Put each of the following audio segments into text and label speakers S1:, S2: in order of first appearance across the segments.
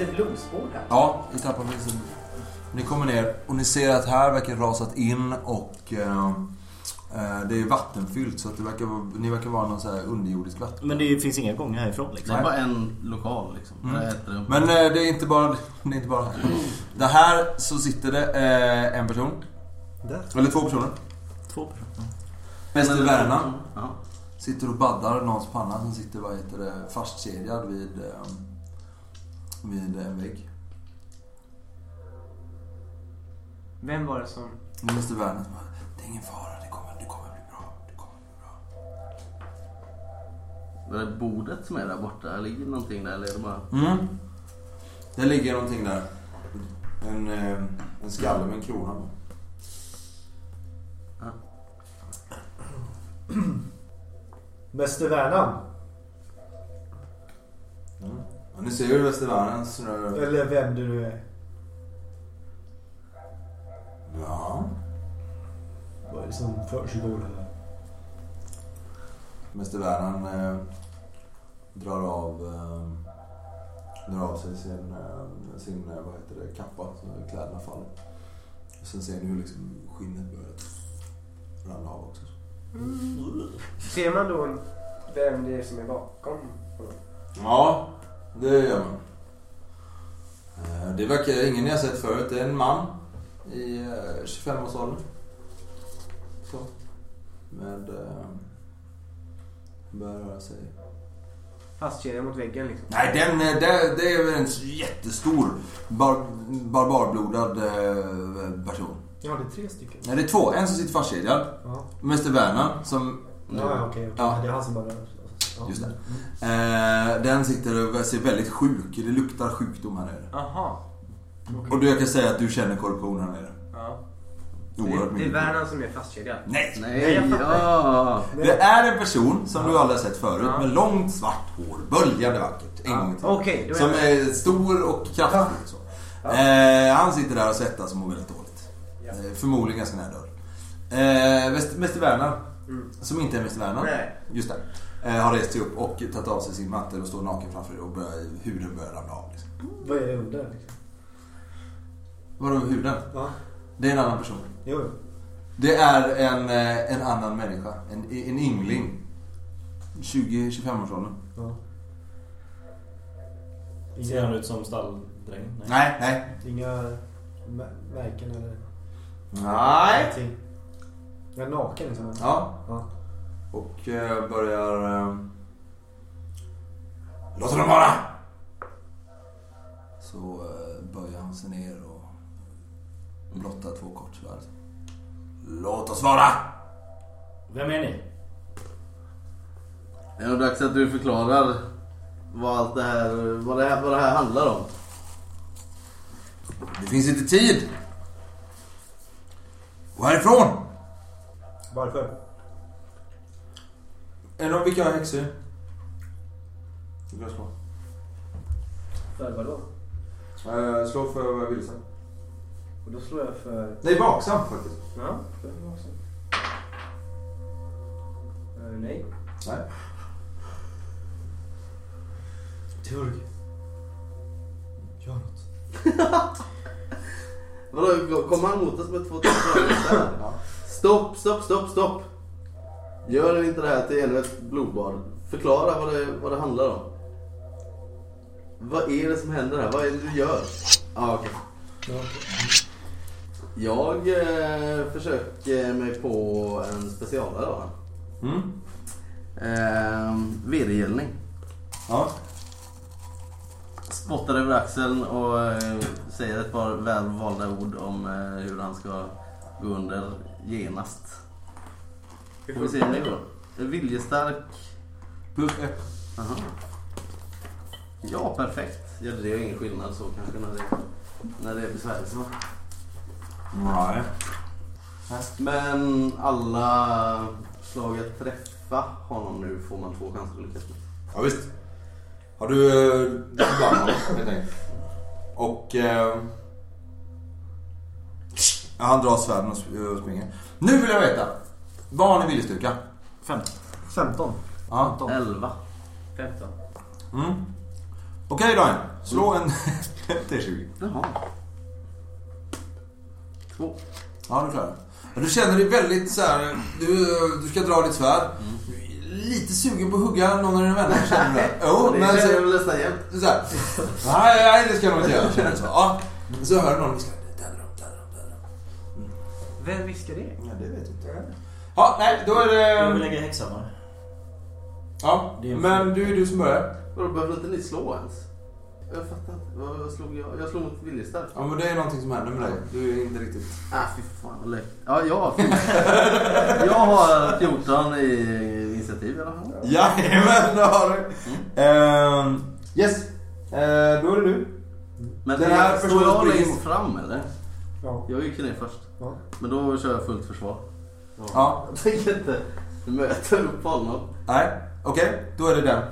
S1: ett blodspår här.
S2: Ja, ni tappar precis. Ni kommer ner och ni ser att här verkar rasat in och eh, eh, det är vattenfyllt så att det verkar, vara- ni verkar vara någon så här underjordisk vatten.
S3: Men det finns inga gånger härifrån liksom.
S2: Nej.
S4: Det är bara en lokal liksom. Vad heter det?
S2: Men eh, det är inte bara det. Är inte bara. det här så sitter det eh, en person.
S5: Där.
S2: Eller två personer.
S3: Två personer.
S2: Västervärna
S4: Ja.
S2: sitter och baddar någons panna som sitter vad heter det, fastkedjad vid, eh, vid en vägg.
S1: Vem var det som...
S2: Nu måste värnet bara, det är ingen fara, det kommer, det kommer bli bra. Det kommer bli bra.
S4: Var det bordet som är där borta? Ligger någonting där eller är det bara...
S2: Mm. Det ligger någonting där. En, eh, en skalle med en krona på.
S5: Mäster Värnan.
S2: Och Mm. ni ser ju västervärlden snurrar.
S5: Eller vem du nu är.
S2: Ja.
S5: Vad är det som försiggår här?
S2: Västervärlden eh, drar av eh, drar av sig sin, eh, sin eh, vad heter det, kappa så kläderna faller. Och sen ser ni hur liksom skinnet börjar ramla av också.
S1: Ser man då vem det är som är bakom? honom?
S2: Ja, det gör man. Eh, Det verkar ingen ni har sett förut. Det är en man i eh, 25-årsåldern. Så. Med... eh, Börjar röra sig.
S1: Fastkedjad mot väggen liksom.
S2: Nej, den, eh, det, det är väl en jättestor bar, barbarblodad eh, person.
S5: Ja, det är tre stycken.
S2: Nej, det är två. En som sitter fastkedjad.
S5: Ja,
S2: Mäster Werner som
S5: ja, ja Ah, okej. okej.
S2: Ja.
S5: Det är han som bara... Ja.
S2: Just det. Eh, den sitter och ser väldigt sjuk. Det luktar sjukdom här nere.
S1: Aha.
S2: Och du, jag kan säga att du känner korruption här nere.
S1: Ja. Det,
S2: Oerhört
S1: det är
S2: mycket.
S1: Vernon som är fastkedjad.
S2: Nej!
S4: Nej,
S1: jag fattar.
S4: ja!
S2: Det är en person som du aldrig har sett förut
S1: Ja.
S2: med långt svart hår. Böljande vackert. En
S1: Ja.
S2: gång till.
S1: Ah, Okej, då är
S2: Som
S1: jag
S2: är stor och kraftig. och Så. Eh, han sitter där och svettas och mår väldigt dåligt.
S1: Ja.
S2: Eh, förmodligen ganska nära dörren. Eh, Väst- Mäster Werner,
S1: Mm.
S2: som inte är Mäster Werner.
S1: Nej.
S2: Just det. Eh, har rest sig upp och tagit av sig sin mantel och står naken framför er och börjar, huden börjar ramla av. Liksom.
S5: Vad är det under? Liksom?
S2: Vadå huden?
S5: Va?
S2: Det är en annan person.
S5: Jo, jo.
S2: Det är en, eh, en annan människa. En, en yngling. 20-25-årsåldern.
S5: Ja.
S6: Ser han
S5: Inga,
S6: ut som stalldräng? Nej.
S2: Nej, nej.
S5: inga mä- märken eller
S2: Nej.
S5: någonting. Jag är naken liksom.
S2: Ja.
S5: Ja.
S2: Och eh, börjar... Eh, Låt honom vara! Så eh, böjer han sig ner och blottar två kortsvärd. Låt oss vara!
S6: Vem är ni?
S4: Det är nog dags att du förklarar vad allt det här, vad det här, vad det här handlar om.
S2: Det finns inte tid! Gå härifrån!
S5: Varför?
S2: Är det någon vilka häxor? Du kan slå.
S1: För vadå?
S2: Eh, slå för vad jag vill sen.
S1: Och då slår jag för...
S2: Nej, vaksam faktiskt.
S1: Ja, för jag också. Eh, nej.
S2: Nej.
S5: Turg. Gör något.
S4: Vadå, kommer han mot oss med två tatueringar?
S2: Ja.
S4: Stopp, stopp, stopp, stopp! Gör inte det här till ännu ett blodbad. Förklara vad det, vad det handlar om. Vad är det som händer här? Vad är det du gör? Ah, okej. Jag eh, försöker mig på en specialare då.
S2: Mm.
S4: Eh, Vedergällning.
S2: Ja.
S4: Spottar över axeln och eh, säger ett par välvalda ord om eh, hur han ska gå under genast. Får vi se hur det går. Viljestark.
S2: Plus ett.
S4: Aha. Ja, perfekt. Ja, det är ingen skillnad så kanske när det, när det är besvärelse va?
S2: Nej.
S4: Men alla slag att träffa honom nu får man två chanser att lyckas med.
S2: Ja, visst. Har du... eh, Du förband honom, helt enkelt. Och... Eh, ja, han drar svärden och sp- och springer. Nu vill jag veta! Vad har ni viljestyrka?
S5: 15.
S2: Ja.
S4: 11.
S1: 15.
S2: Mm. Okej, Daniel. Slå en T20.
S4: Jaha. Två.
S2: Ja, du klarar det. Du känner dig väldigt så här. Du, du ska dra ditt svärd. Lite sugen på att hugga någon av dina vänner känner du det? Jo,
S4: det
S2: men
S4: känner
S2: så,
S4: jag väl nästan jämt.
S2: så här. Nej, nej, det ska jag nog inte göra. Känner du så. Ja. Så hör du någon viska. Där är de, där är de, där är de.
S1: Vem viskar det?
S2: Ja, det vet jag inte. Ja, nej, då är
S6: Jag vill
S2: det...
S6: lägga häxan va?
S2: Ja, men du är du som börjar.
S4: Vadå, behöver inte ni slå ens? Jag fattar inte. Vad vad slog jag? Jag slog mot viljestark.
S2: Ja, men det är någonting som händer med dig. Du är inte riktigt...
S4: Ah, fy fan vad lätt. Ja, jag har 14. jag har 14 i initiativ i alla fall.
S2: Jajamän, det har du. Mm. Ehm, yes, Ehm, då är det du.
S4: Men
S2: Den här
S4: står
S2: personen
S4: jag
S2: springer-
S4: längst fram eller?
S5: Ja.
S4: Jag gick ju ner först.
S5: Ja.
S4: Men då kör jag fullt försvar.
S2: Ja.
S4: Jag tänker inte möta upp honom.
S2: Nej, okej. Då är det den.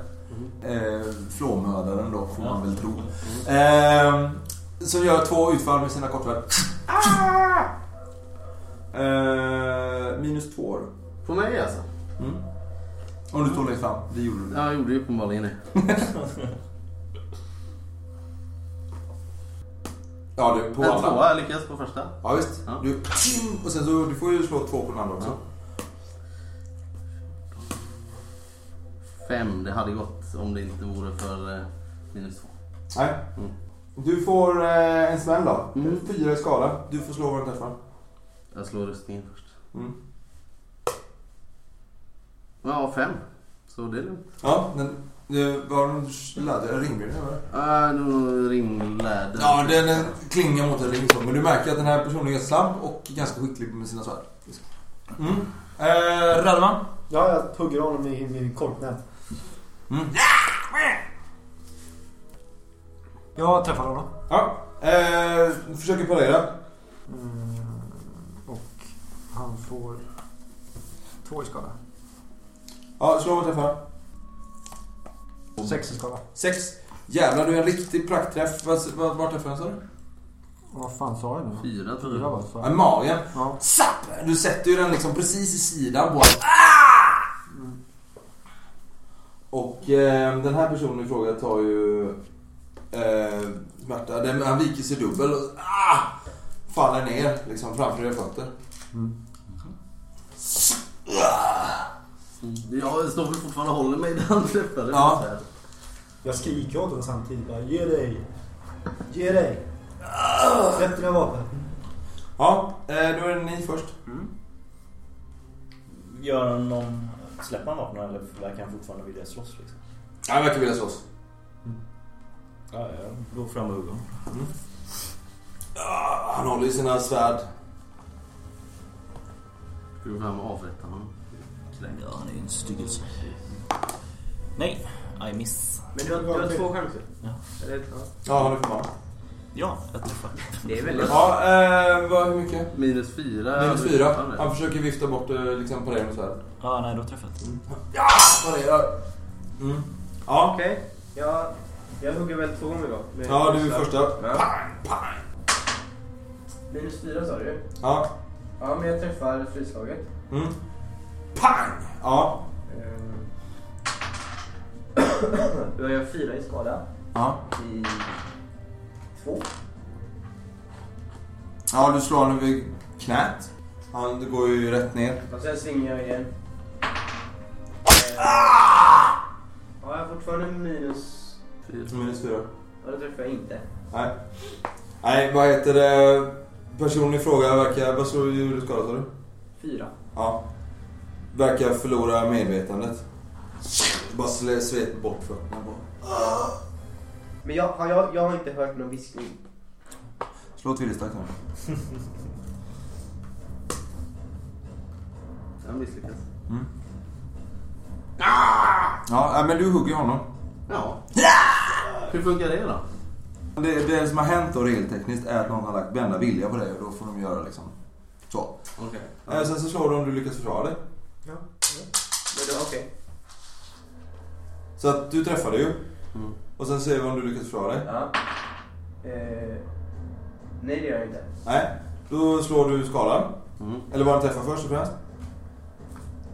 S2: Eh, flåmördaren då, får man väl tro.
S4: Mm.
S2: Eh, som gör två utfall med sina kortvärd. Eh, minus två då.
S4: På mig alltså?
S2: Mm. Om du står längst fram. Det gjorde du.
S4: Ja, jag gjorde ju uppenbarligen det.
S2: Ja, du. På
S4: En
S2: alla.
S4: tvåa, jag lyckades på första.
S2: Ja, visst.
S4: Ja.
S2: Du, och sen så, du får ju slå två på den andra också.
S4: Fem, det hade gått om det inte vore för eh, minus två.
S2: Nej.
S4: Mm.
S2: Du får eh, en smäll då.
S4: Mm.
S2: Fyra i skala. Du får slå vad den träffar.
S4: Jag slår rustningen först.
S2: Mm.
S4: Ja, fem. Så det är lugnt.
S2: Ja, den... det Var den laddad? Ringbrynja eller?
S4: Äh, nu ringläder.
S2: Ja, den, den klingar mot en ring så. Men du märker att den här personen är snabb och ganska skicklig med sina svärd. Mm. Eh, Radman?
S5: Ja, jag hugger honom i min korknät.
S2: Mm.
S5: Jag träffar honom.
S2: Ja. Eh, försöker parera.
S5: Mm, och han får två i skada.
S2: Ja, slå vad träffar.
S5: Sex i skada.
S2: Sex. Jävlar, du är en riktig praktträff. Vad vad- vart träffade den sa du?
S5: Vad fan sa jag nu?
S4: Fyra tror
S5: Fyra
S4: jag.
S5: var det
S2: Ja,
S5: så.
S2: i magen.
S5: Ja.
S2: Zapp! Du sätter ju den liksom precis i sidan på honom. Ah! Mm. Och eh, den här personen i fråga tar ju eh, smärta. Den, han viker sig dubbel och ah! faller ner liksom framför era fötter.
S4: Mm. Jag står väl fortfarande och håller mig där han träffade.
S2: Ja.
S5: Jag skriker åt honom samtidigt bara, ge dig! Ge dig! Släpp dina vapen!
S2: Ja, eh, då är det ni först.
S6: Gör han någon... Släpper han vapnen eller verkar han fortfarande vilja slåss liksom?
S2: Han verkar vilja slåss.
S6: Ja, jag går fram och hugger honom.
S2: Ah, han håller ju sina svärd.
S4: Ska vi fram och avrätta honom?
S6: Ja, han är ju en styggelse. Nej, I miss.
S1: Men du har, du har två chanser.
S6: Ja.
S1: Eller, ja.
S2: Ja, han är förmannad.
S6: Ja, jag träffar.
S1: Det är väldigt...
S2: Ja, eh, vad, hur mycket?
S4: Minus fyra.
S2: Minus fyra. Han försöker vifta bort eh, liksom parera med svärd.
S6: Ja, nej, då träffar jag inte.
S2: Parerar. Mm. Ja.
S1: Okej, jag, jag hugger väl två nu då. Med
S2: Ja, du är första.
S1: Ja. Minus fyra sa du
S2: Ja.
S1: Ja, men jag träffar frislaget.
S2: Mm. Pang! Ja.
S1: Ehm. Då har jag fyra i skada.
S2: Ja.
S1: I två.
S2: Ja, du slår honom vid knät. Han går ju rätt ner.
S1: Och sen svingar jag igen. Ah! Ehm. Ja, jag har fortfarande minus...
S2: Minus fyra.
S1: Ja, då träffar jag inte.
S2: Nej. Nej, vad heter det? Personen i fråga verkar... Vad slår du i skada, sa du?
S1: Fyra.
S2: Ja. Verkar förlora medvetandet. Bara slä- svet bort fötterna på.
S1: Men jag, har jag, jag har inte hört någon viskning.
S2: Slå till i stacken.
S4: Jag misslyckas.
S2: Ja, nej, men du hugger honom.
S4: Ja. Hur funkar det då?
S2: Det, det som har hänt då regeltekniskt är att någon har lagt vända vilja på dig och då får de göra liksom så.
S4: Okej.
S2: Eh, Sen så slår du om du lyckas försvara dig.
S5: Ja.
S1: Men då, okej.
S2: Så att du träffade ju.
S4: Mm.
S2: Och sen ser vi om du lyckas försvara dig.
S1: Ja. Eh, nej, det gör jag inte.
S2: Nej. Då slår du skalan.
S4: Mm.
S2: Eller bara träffar först och främst.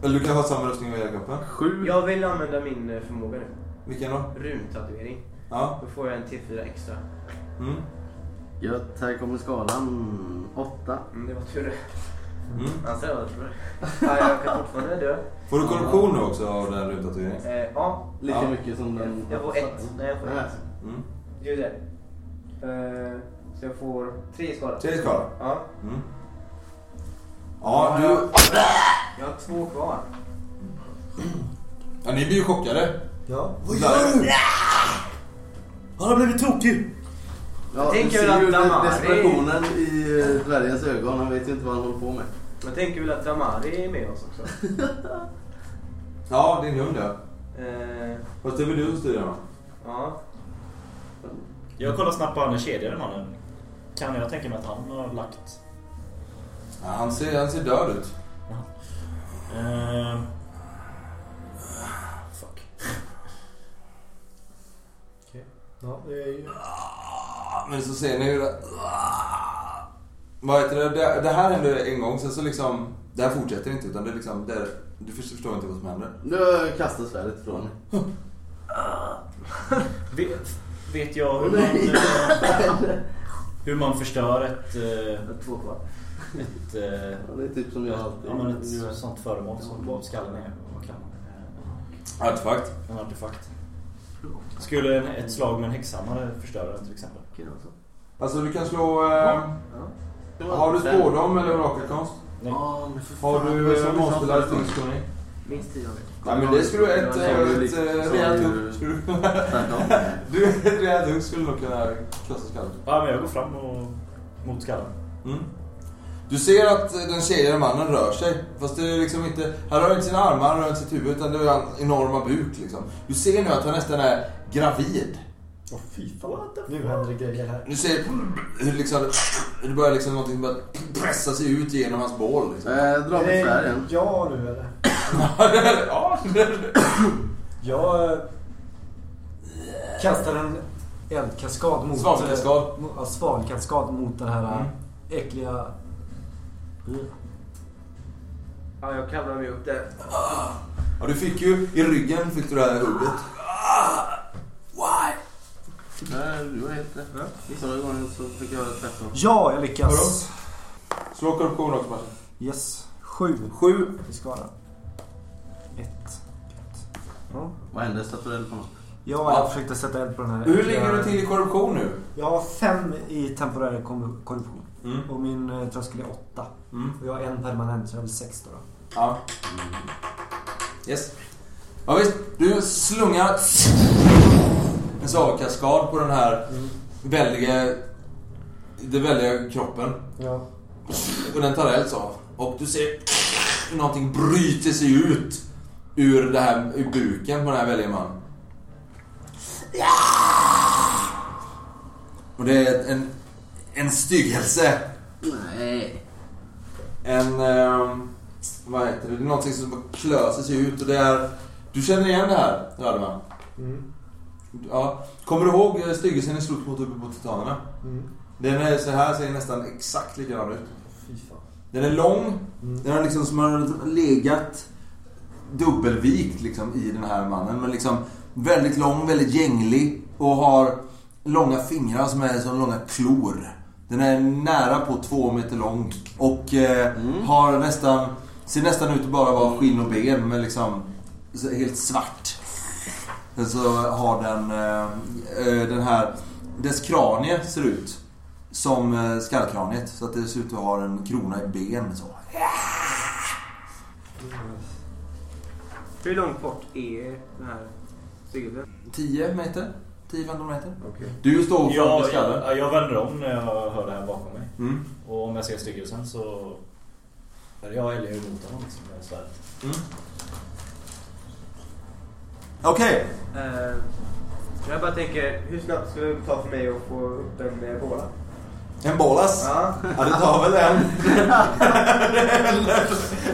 S2: Eller du kan ha samma röstning med hela kroppen.
S4: Sju.
S1: Jag vill använda min eh, förmåga nu.
S2: Vilken då?
S1: Rymdtatuering.
S2: Ja.
S1: Då får jag en T4 extra.
S2: Mm.
S4: Gött, här kommer skalan. Åtta.
S1: Mm, det var tur det.
S2: Mm.
S1: Annars hade jag varit bra. Ja, jag kan fortfarande dö.
S2: Får du korruption nu också av den rutatueringen?
S1: Eh, ja,
S4: Lika
S2: Ja.
S4: mycket som den...
S1: jag får ett. Nej, jag får
S4: Nej.
S1: ett.
S2: Mm.
S1: Det är ju det. Eh, så jag får tre i skada.
S2: Tre skala.
S1: Ja.
S2: Mm. Ja,
S1: jag,
S2: du...
S1: jag har två kvar.
S2: Ja, ni blir ju chockade.
S5: Ja.
S2: Vad gör du?
S3: Han har blivit tokig!
S4: Ja,
S1: Jag
S4: du
S1: tänker väl
S4: ser
S1: att
S4: ju de-
S1: Damari-
S4: desperationen i eh, dvärgens ögon. Han vet ju inte vad han håller på med.
S1: Jag tänker väl att Damari är med oss också.
S2: Ja, din hund ja.
S1: Eh,
S2: Fast det är väl du som styr den va?
S1: ja.
S6: Jag kollar snabbt på han kedjade mannen. Kan jag tänka mig att han har lagt...
S2: Ja, han, ser, han ser död ut.
S6: Eh, fuck.
S5: ja det är ju...
S2: Men så ser ni hur det... Vad heter det? det? Det här hände en gång, sen så liksom... Det här fortsätter inte utan det är liksom... Det är, du förstår inte vad som händer.
S4: Nu kastar svärdet ifrån mig.
S6: Vet, vet jag hur man, eh, hur man förstör ett, eh,
S1: Jag har två kvar.
S6: ett, eh,
S4: Ja, Det är typ som jag alltid
S6: ja, men ett sånt föremål som skallen är. Vad kallar man det?
S2: Artefakt.
S6: Eh, En artefakt. Skulle en, ett slag med en häxhammare förstöra den till exempel?
S2: Alltså du kan slå... Eh, har du spårdom eller orakelkonst?
S6: Nej.
S4: Ja, men för fan,
S2: Har
S4: det var ju
S2: du
S4: som
S2: eh,
S4: vi sa
S2: monsterlärd
S4: förut.
S2: tingskunnig?
S1: Minst tio av er.
S2: Nej men det skulle ett,
S1: Ja,
S2: ett,
S1: det
S4: var
S2: ett,
S4: ju
S2: ett eh,
S4: liksom-
S2: rejält
S4: så-
S2: hugg skulle du...
S4: Tvärtom.
S2: Du, ett rejält hugg skulle nog kunna krossa skallen.
S6: Ja, men jag går fram och mot skallen.
S2: Mm. Du ser att eh, den tjejigare mannen rör sig. Fast det är liksom inte... Han rör inte sina armar, han rör inte sitt huvud utan det är hans enorma buk liksom. Du ser nu att han nästan är gravid.
S5: Åh fy fan. Nu händer det grejer här.
S2: Du ser hur liksom... Det börjar liksom någonting bara pressa sig ut genom hans bål liksom.
S4: Eh, Dra
S5: Är
S4: med
S5: det
S4: svärden.
S5: jag nu eller?
S2: ja,
S5: Jag eh, kastar en eldkaskad mot...
S2: Svavelkaskad.
S5: eh, mo- Ja, svavelkaskad mot den här eh,
S2: Mm.
S5: äckliga...
S1: Ja, jag kravlar mig upp där.
S2: Ja, du fick ju... I ryggen fick du det här hugget. Why?
S4: Nej, Eh, du har helt rätt. Förra gången så fick jag höra tvärtom.
S5: Ja, jag lyckas!
S2: Slå korruption också Martin.
S5: Yes. Sju
S2: Sju.
S5: i skada. Ett. Gött. Ja.
S4: Vad hände? Statuell på något?
S5: Ja, jag
S2: Ja.
S5: försökte sätta eld på den här
S2: Hur
S5: äckliga-
S2: ligger du till i korruption nu?
S5: Jag har fem i temporär kom- korruption.
S2: Mm.
S5: Och min eh, tröskel är åtta.
S2: Mm.
S5: Och jag har en permanent, så jag har väl sex då. då.
S2: Ja. Yes. Ja, visst, du slungar en svavelkaskad på den här väldiga, det väldiga kroppen.
S5: Ja.
S2: Och den tar eld så. Och du ser hur någonting bryter sig ut ur, det här, ur buken på den här väldiga mannen. Och det är en, en styggelse
S4: Nej.
S2: en... ehm, vad heter det? Det är någonting som bara klöser sig ut och det är... Du känner igen det här, Radman?
S5: Mm.
S2: Ja. Kommer du ihåg eh, styggelsen ni slogs mot uppe på Titanerna?
S5: Mm.
S2: Den är så här ser nästan exakt likadan ut.
S5: Fy fan.
S2: Den är lång.
S5: Mm.
S2: Den har liksom som har legat dubbelvikt liksom i den här mannen. Men liksom väldigt lång, väldigt gänglig och har långa fingrar som är som långa klor. Den är nära på två meter lång och eh,
S4: Mm.
S2: har nästan, ser nästan ut att bara vara skinn och ben men liksom så- helt svart. Sen så har den, eh, eh, den här, dess kranie ser ut som eh, skallkraniet. Så att det ser ut att ha en krona i ben så.
S1: Hur långt bort är den här styggelsen?
S2: 10 meter? 10-15 meter?
S1: Okej.
S2: Du står
S6: Jag,
S2: framför skallen.
S6: jag, jag vänder om när jag hör det här bakom mig.
S2: Mm.
S6: Och om jag ser styggelsen så... Eller jag älgar ju mot honom liksom med svärdet.
S2: Okej.
S1: Eh, jag bara tänker, hur snabbt skulle det ta för mig att få upp en eh, båla?
S2: En bolas.
S1: Ja.
S2: Ja, det tar väl en...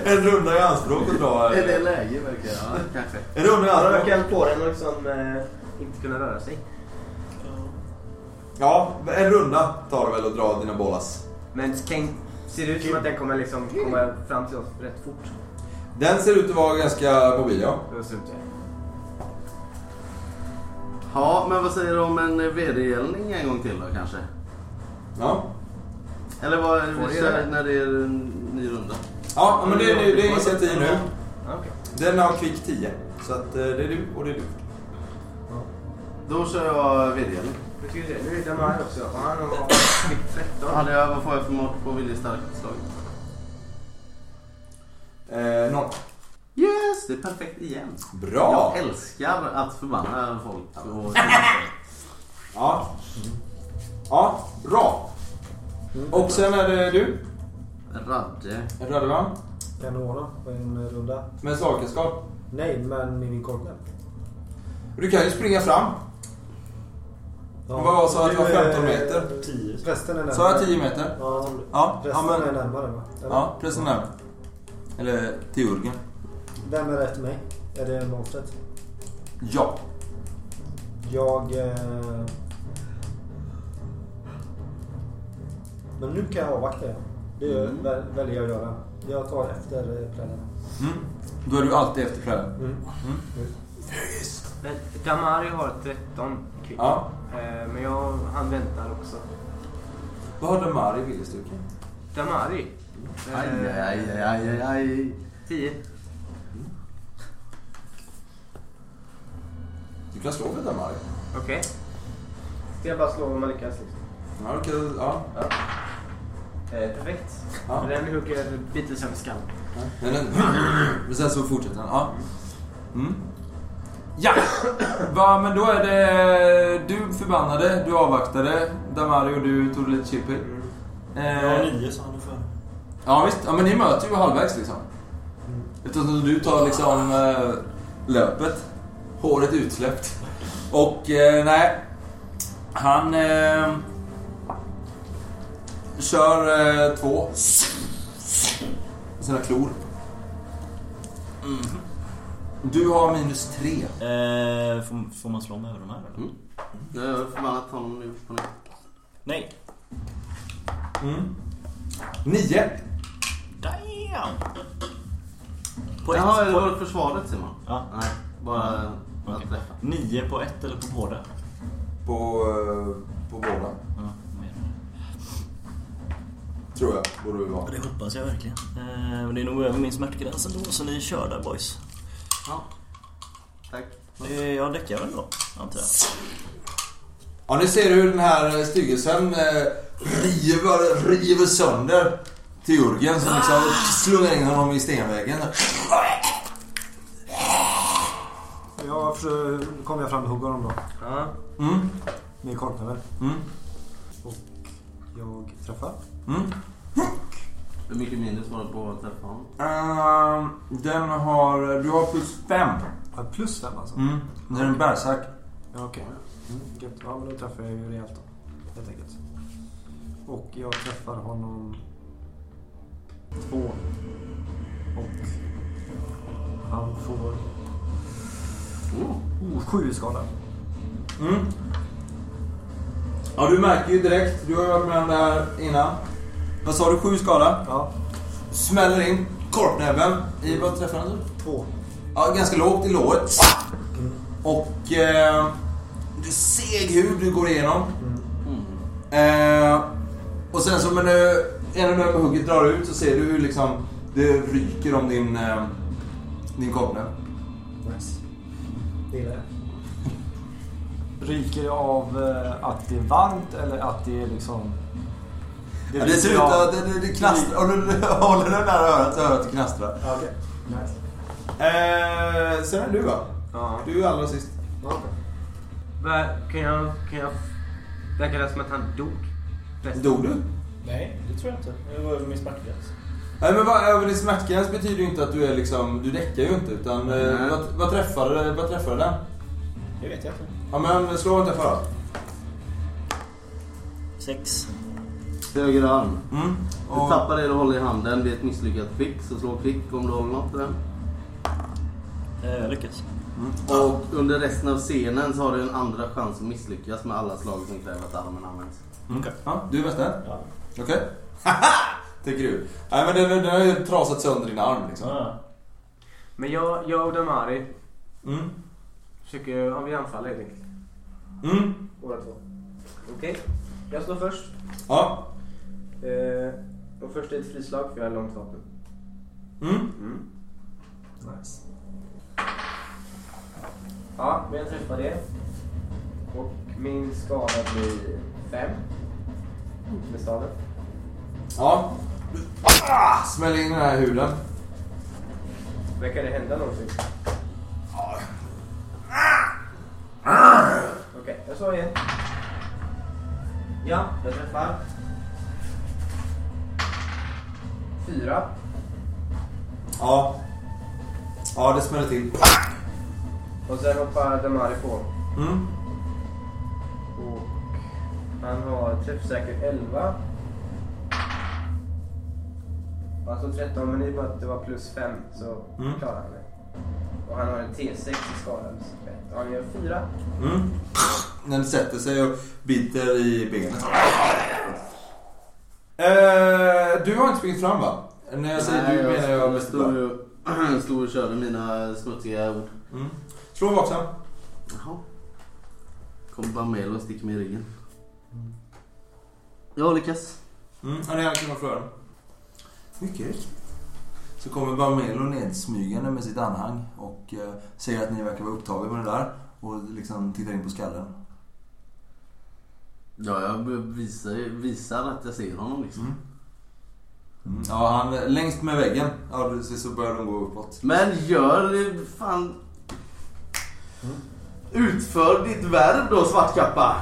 S2: en, en runda i anspråk att dra.
S4: Är det läge verkligen? Ja, kanske.
S2: En runda i
S1: Han
S2: anspråk.
S1: röker eld på den och liksom eh, inte kunna röra sig.
S2: Ja, en runda tar det väl att dra dina bolas.
S1: Men kan, ser det ut som att den kommer liksom komma fram till oss rätt fort?
S2: Den ser ut att vara ganska mobil ja.
S1: Det var surt.
S4: Ja, men vad säger du om en vedergällning en gång till då kanske?
S2: Ja.
S4: Eller vad
S1: Får
S4: vi
S1: er
S4: kör
S1: det?
S4: när det är en ny runda?
S2: Ja, men det är, det är initiativ nu.
S1: Ja, okej.
S2: Den har kvick 10. Så att eh, det är du och det är du.
S4: Då kör jag vedergällning.
S1: Nu ska vi se. Nu är den här också. Och han har fick
S4: Då
S1: 13.
S4: hade jag, vad får jag för mått på viljestarkt slag?
S2: Eh, noll.
S4: Yes, det är perfekt igen.
S2: Bra!
S4: Jag älskar att förbanna folk. Och...
S2: Ja. Ja, bra. Och sen är det du,
S4: Radde.
S2: Röde va?
S5: Kan du ordna på en eh, runda?
S2: Med slagkunskap.
S5: Nej, men med min korpen.
S2: Du kan ju springa fram. Vad var så att det var
S5: Du är-
S2: 15 meter?
S6: 10.
S5: Prästen är närmare.
S2: Sa jag 10 meter?
S5: Ja,
S2: Ja, ja
S5: prästen är
S2: men...
S5: närmare va? Eller?
S2: Ja, precis där. Eller teurgen.
S5: Vem är rätt mig? Är det monstret?
S2: Ja.
S5: Jag... Eh... Men nu kan jag avvakta. ja. Det gör- väl- väljer jag att göra. Jag tar efter eh, prällen.
S2: Mm. Då är du alltid efter kvällen.
S1: Damari har 13 kvick.
S2: Ja.
S1: Eh, men jag, han väntar också.
S2: Vad har Demari i viljestyrka?
S1: Damari. Eh,
S4: Aj, aj, aj, aj, aj.
S1: 10.
S2: Du kan slå med Demari.
S1: Okej. Ska jag bara slå om man lyckas liksom.
S2: Ja, du kan... Ja.
S1: Ja. Eh, perfekt.
S2: Ja.
S1: Den hugger biter sönder skallen.
S2: Men den... Men sen så fortsätter den. Ja. Mm. Ja! Va, men då är det... Du förbannade, du avvaktade. Damari och du tog lite chippy.
S6: Jag har
S2: Eh,
S6: 9 så han är för.
S2: ja visst, ja, men ni möter ju halvvägs liksom. Eftersom du tar liksom eh, löpet. Håret utsläppt. Och eh, nej. Han... Eh, kör eh, två. Sina klor. Du har minus tre.
S6: Eh, får, får man slå med över de här eller?
S4: Jag har förbannat honom nu på nytt.
S6: Nej.
S2: Mm. Nio.
S6: Damn! På ett,
S4: Jaha, det
S6: på-
S4: var försvaret Simon?
S6: Ja.
S4: Nej, bara
S6: Okej.
S4: att träffa.
S6: Nio på ett eller på båda?
S2: På, eh, på båda.
S6: Ja, vad menar du?
S2: Tror jag. Borde vi vara.
S6: Ja, det hoppas jag verkligen. Eh, men det är nog över min smärtgräns ändå, Alltså, så ni kör där boys.
S4: Ja. Tack.
S6: Eh, jag däckar väl då, antar jag.
S2: Ja, ni ser hur den här styggelsen eh, river, river sönder Teurgen som liksom slungar in honom i stenväggen.
S5: Jag försöker- kommer jag fram och hugger honom då.
S1: Ja.
S2: Mm,
S5: Med korpen.
S2: mm,
S5: Jag träffar.
S2: mm.
S4: Hur mycket minus var det på att träffa honom?
S2: Ehm, den har... Du har plus fem.
S5: Ja, Plus fem alltså.
S2: Mm. Den är en bärsack.
S5: Ja, okej. Mm, gött. Ja, men då träffar jag ju rejält då. Helt enkelt. Och jag träffar honom två. Och han får oh, sju i skada.
S2: Mm. Ja, du märker ju direkt. Du har ju varit med om det här innan. Vad sa du? Sju skada?
S5: Ja,
S2: Smäller in korpnäven i... Vad träffar han?
S5: två.
S2: Ja, ganska lågt i låret. Och eh, du seg hud du går igenom. Eh, och sen så men eh, du, genom det här med hugget drar ut så ser du hur liksom det ryker om din, eh, din korpnäbb.
S5: Nice. Det gillar jag. Ryker det av eh, att det är varmt eller att det är liksom...
S2: Ja, det ser ut
S5: ryker av-
S2: att det, det, det knastrar. Om du håller den där örat så hör att det knastrar.
S5: Ja, okej. Nice.
S2: Eh, sen är du va?
S1: Ja.
S2: Du är allra sist.
S5: Ja, okej.
S1: Va- Kan jag... Kan jag... Verkar det som att han dog? Bäst.
S2: Dog du?
S6: Nej, det tror jag inte. Det var över min smärtgräns.
S2: Nej men vad, över din smärtgräns betyder ju inte att du är liksom, du däckar ju inte utan eh,
S4: Nej.
S2: vad, vad träffade, vad träffade den?
S6: Det vet jag inte.
S2: Ja men slå inte för allt.
S6: Sex.
S4: Höger arm.
S2: Mm.
S4: Du tappar det du håller i handen vid ett misslyckat kvick, så slå kvick om du håller något i den.
S6: Eh, jag lyckas.
S4: Och under resten av scenen så har du en andra chans att misslyckas med alla slag som kräver att armen används.
S2: Mm. Ja, du är bäst där.
S6: Ja.
S2: Okej. Haha! Tycker du. Nej men den, den har ju trasat sönder din arm liksom.
S6: Ja.
S1: Men jag, jag och Damari
S2: Mm.
S1: försöker... Ja, vi anfaller helt enkelt.
S2: Mm.
S1: Båda två. Okej. Jag slår först.
S2: Ja.
S1: Eh, och först är ett frislag för jag har långt vapen.
S2: Mm.
S5: Nice.
S1: Ja, men jag träffar det. Och min skada blir fem. Med staven.
S2: Ja. Ah, smäll in den här huden.
S1: Verkar det hända någonting? Okej, jag slår igen. Ja, jag träffar. Fyra.
S2: Ja. Ja, det smäller till.
S1: Och sen hoppar Damari på.
S2: Mm.
S1: Och han har träffsäker 11. Alltså 13, men i och med att det var plus 5 så
S2: Mm.
S1: klarar han det. Och han har en T6 i skada. så ett. Och han gör 4.
S2: Mm. Den sätter sig och biter i benet. Eh, du har inte sprungit fram va? När jag säger du menar jag
S4: jag
S2: Westerberg.
S4: stod ju- stod och körde mina smutsiga ord.
S2: Mm. Slå vaksam.
S4: Jaha. Kom Bamelo och stick mig i ryggen. Jag lyckas.
S2: Mm. Ja, det är han som har flöden. Mycket riktigt. Så kommer Barmelo nedsmygande med sitt anhang och eh, säger att ni verkar vara upptagen med det där och liksom tittar in på skallen.
S4: Ja, jag visar, visar att jag ser honom liksom.
S2: Mm. Mm. Ja, han längst med väggen. Ja, du ser så börjar de gå uppåt.
S4: Men gör det fan... Utför ditt värv då, Svartkappa!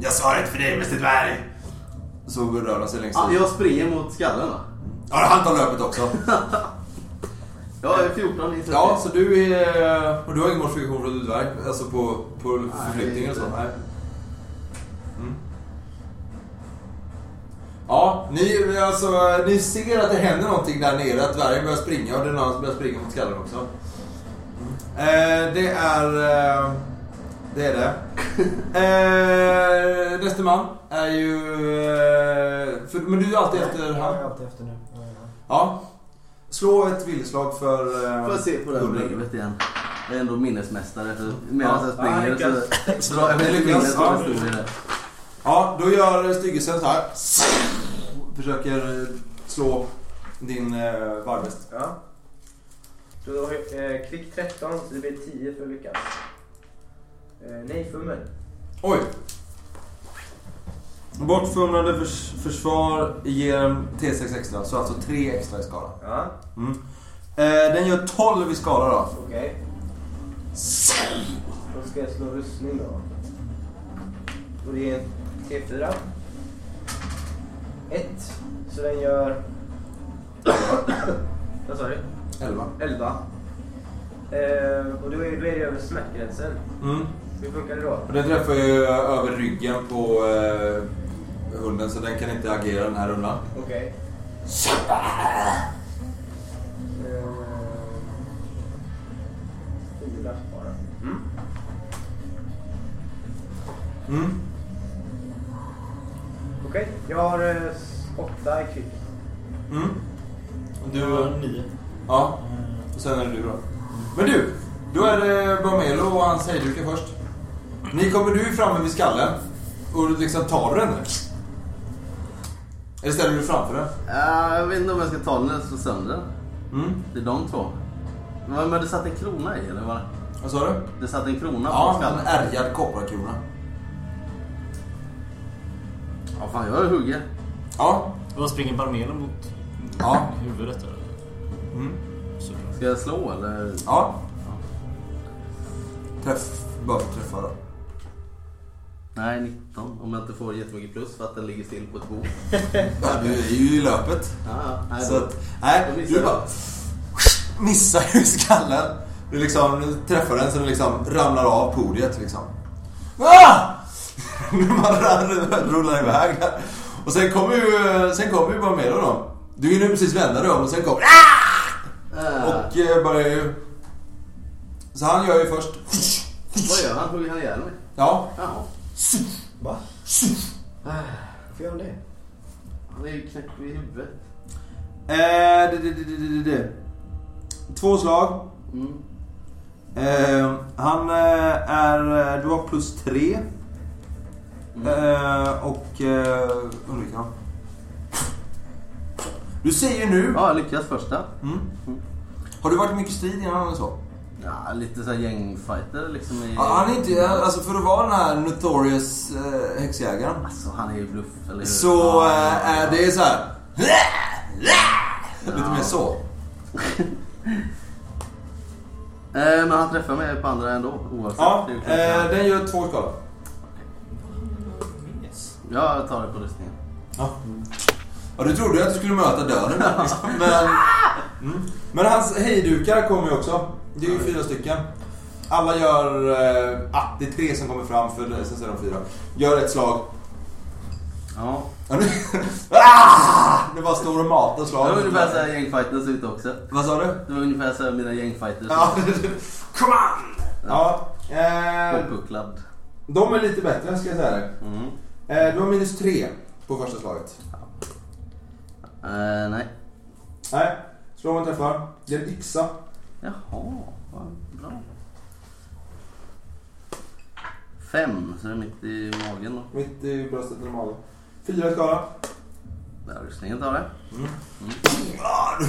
S2: Jag sa inte för dig, Mr Dvärg! Så rör han sig längst ut.
S4: Ja, Ah, jag springer mot skallen va?
S2: Ja, han tar löpet också.
S4: Ja, jag är 14 i
S2: Ja, så du är... Och du har ingen modifikation från ditt verk? Alltså på, på förflyttning och så?
S4: inte.
S2: Nej. Mm. Ja, ni, alltså, ni ser att det händer någonting där nere. Att dvärgen börjar springa och den andra börjar springa mot skallen också. Eh, det är... Eh, det är det. Eh, nästa man är ju... Eh, för, men du är ju alltid efter
S5: Jag
S2: han.
S5: är alltid efter nu. Ja, ja.
S2: Ja. Slå ett villslag för... Eh,
S4: Får jag se på det här
S2: Gunnar.
S4: brevet igen? Jag är ändå minnesmästare. så Medan jag
S1: Ja, han
S4: springer
S1: lyckas.
S4: så drar jag mig till
S2: Lyckas.
S4: minnes
S2: Ja.
S4: vad det stod i det.
S2: Ja, då gör Styggesen så här. Försöker eh, slå din eh, varvest.
S1: Ja. Då eh, kvick 13, så det blir 10 för lyckas. Eh, nej, fummel.
S2: Oj! Bortfumlande förs- försvar ger en T6 extra, så alltså 3 extra i skada.
S1: Ja,
S2: Mm. Eh, den gör 12 i skada då.
S1: okej. Då ska jag slå rustning då. Och det är en T4. 1, så den gör... Vad sa du?
S2: 11.
S1: 11. Eh, och då är, då är det över smärtgränsen.
S2: Mm.
S1: Hur funkar det då?
S2: Och den träffar ju eh, över ryggen på eh, hunden så den kan inte agera den här rundan.
S1: Okej. Eh, Fyra bara. Mm.
S2: Mm.
S1: Okej, jag har eh, s- åtta i kvick.
S2: Mm. Och
S6: Du
S2: Du...
S6: var nio.
S2: Ja. Och sen är det du då. Men du, då är det Bamelo och hans hejdukar först. Ni kommer du är framme vid skallen och liksom tar du den där? Eller ställer du dig framför den?
S4: Ja, Eh, jag vet inte om jag ska ta den eller slå sönder den.
S2: Mm.
S4: Det är de två. Men men det satt en krona i eller vad? det-
S2: Vad sa du?
S4: Det satt en krona
S2: Ja,
S4: på
S2: en
S4: skallen.
S2: ärgad kopparkrona.
S4: Ja, fan jag hugger.
S2: Ja.
S6: Vad springer Barmelo mot
S2: Ja.
S6: huvudet? Eller?
S2: Mm.
S6: Så.
S4: Ska jag slå eller?
S2: Ja. Träff. Bara för att träffa då.
S4: Nej, 19. Om jag inte får jättemycket plus för att den ligger still på ett bord.
S2: Ja, du är ju i löpet.
S4: Ja, ja. Nej,
S2: Så
S4: då-
S2: att, nej,
S4: Då missar
S2: du
S4: jag.
S2: bara missar ju skallen. Du liksom du träffar den så den liksom ramlar av podiet liksom. Ah! Man rullar- rullar iväg här. Och sen kommer ju, sen kommer ju bara med då. Du hinner ju precis vända dig om och sen kommer
S4: Äh,
S2: och eh, börjar ju... Så han gör ju först...
S4: Vad gör han? Hugger han ihjäl mig?
S2: Ja.
S4: Ja.
S5: Va? Varför gör han det?
S4: Han är ju knäpp i huvudet.
S2: Eh, det, det, det, det, det, det. Två slag.
S4: Mm.
S2: Eh, han eh, är... Du har plus tre.
S4: Mm.
S2: Eh, och eh, undviker han. Du ser ju nu...
S4: Ja, jag lyckas första.
S2: Mm. Har du varit i mycket strid innan eller så?
S4: Ja, lite så här gängfighter liksom i...
S2: Ja, han är inte... Alltså för att vara den här notorious eh, häxjägaren.
S4: Alltså han är ju bluff, eller hur?
S2: Så
S4: Ja,
S2: eh, är det så här. Lite mer så.
S4: Eh, men han träffar mig på andra ändå oavsett.
S2: Ja,
S4: Det är ju klart.
S2: eh, den gör två skada.
S4: Ja, jag tar det på rustningen.
S2: Ja. ja, du trodde ju att du skulle möta döden där, liksom. Men, mm. Men hans hejdukar kommer ju också. Det är ju fyra stycken. Alla gör... Eh, ah, det är tre som kommer fram, för sen så är de fyra. Gör ett slag.
S4: Ja.
S2: Ja, nu, ah! Det bara står och matar
S4: Det
S2: slag.
S4: var ungefär så här gängfighters ute också.
S2: Vad sa du?
S4: Det var ungefär så här mina gängfighters.
S2: Ja, come on! Ja, eh,
S4: Påpucklad.
S2: de är lite bättre ska jag säga dig.
S4: Mm.
S2: Eh, du har minus tre på första slaget.
S4: Eh, nej.
S2: Nej, slå om en träffar. Det är en yxa.
S4: Jaha, vad bra. Fem, så det är mitt i magen då.
S2: Mitt i bröstet eller magen. Fyra i skala.
S4: Där rustningen tar det.
S2: Ah,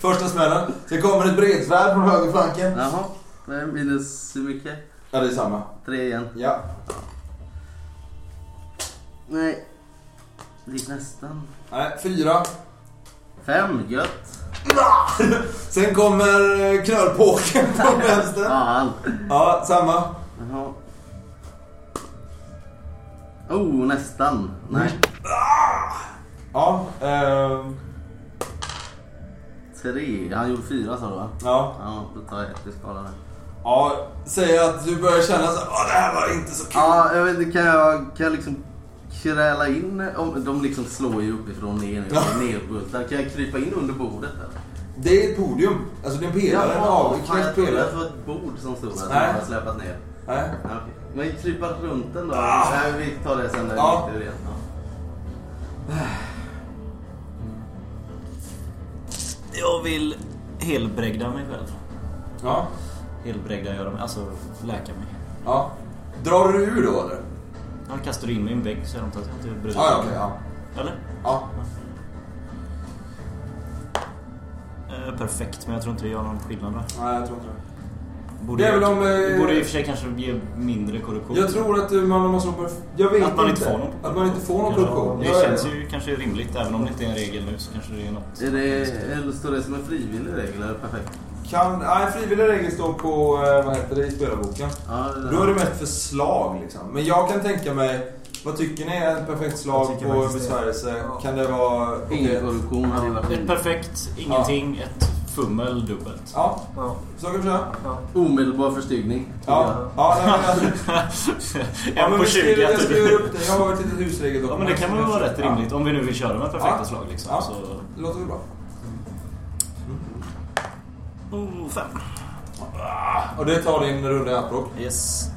S2: Första smällen. Sen kommer ett bredsvärd från högerflanken.
S4: Jaha, det är minus hur mycket?
S2: Ja, det är samma.
S4: Tre igen.
S2: Ja.
S4: Nej. Det gick nästan.
S2: Nej, fyra.
S4: Fem, gött.
S2: Sen kommer eh, knölpåken från vänster.
S4: Fan.
S2: Ja, samma.
S4: Jaha. Oh, nästan. Nej.
S2: Ja, ehm,
S4: Tre. Han gjorde fyra sa du va?
S2: ja.
S4: Ja, då tar jag ett i skala där.
S2: Ja, säger att du börjar känna så här, "Åh, det här var inte så kul.
S4: Ja, jag vet inte, kan jag, kan jag liksom kräla in? Om, de liksom slår ju uppifrån ner nu. Jag är nedbultad. Kan jag krypa in under bordet eller?
S2: Det är ett podium. Alltså det är en pelare. en
S4: fan,
S2: avknäckt
S4: jag trodde att
S2: pelare.
S4: det var ett bord som stod där som
S2: Nej.
S4: jag har släpat ner.
S2: Nej.
S4: Ja, okej. Men krypa runt den då?
S2: Ah.
S4: Nej, vi tar det sen när
S2: Ja.
S4: det är rent.
S6: Jag vill helbrägda mig själv.
S2: Ja.
S6: Helbrägda göra mig, alltså läka mig.
S2: ja. Drar du ur då eller?
S6: Han kastar in mig i en vägg så jag antar att jag inte bryr
S2: Ja, ja, okej. Ja.
S6: Eller?
S2: ja.
S6: Eh, perfekt, men jag tror inte det gör någon skillnad där.
S2: Nej, jag tror inte det.
S6: Borde,
S2: Det är väl om, eh,
S6: borde i och för sig kanske ge mindre korruption.
S2: Jag tror att du- man måste... Jag vet
S6: att man inte får någon.
S2: Att man inte får någon
S6: Kanske.
S2: korruption.
S6: Det
S2: Ja, ja, ja.
S6: känns ju kanske rimligt, även om det inte är en regel nu så kanske det är något.
S4: Är det, eller står det som en frivillig regel eller perfekt?
S2: Kan, nej, frivillig regel står på eh, vad heter det, i spelarboken.
S4: Ja, det
S2: Då är det mest för slag liksom. Men jag kan tänka mig, vad tycker ni är ett perfekt slag
S5: Jag tycker
S2: på
S5: faktiskt det.
S2: besvärjelse? Kan det vara...
S4: Ingen
S2: okej. Mm.
S4: korruption hade ju
S6: Ett
S4: varit
S6: perfekt, ingenting, ett fummel, dubbelt.
S2: Ja,
S5: Ja,
S2: så kan vi köra.
S5: ja.
S4: omedelbar förstygning.
S2: Ja, ja, nej, men jag, ja
S6: en
S2: men
S6: på
S2: vi
S6: 20
S2: skriver, jag
S6: att
S2: skriver
S6: du...
S2: upp det. Jag har ett litet husregeldokument.
S6: Ja men det kan väl vara rätt rimligt om vi nu vill köra med perfekta
S2: Ja.
S6: slag liksom.
S2: Ja.
S6: Så...
S2: Det låter väl bra.
S6: Oh, fem.
S2: Och det tar din runda i anspråk.
S6: Yes.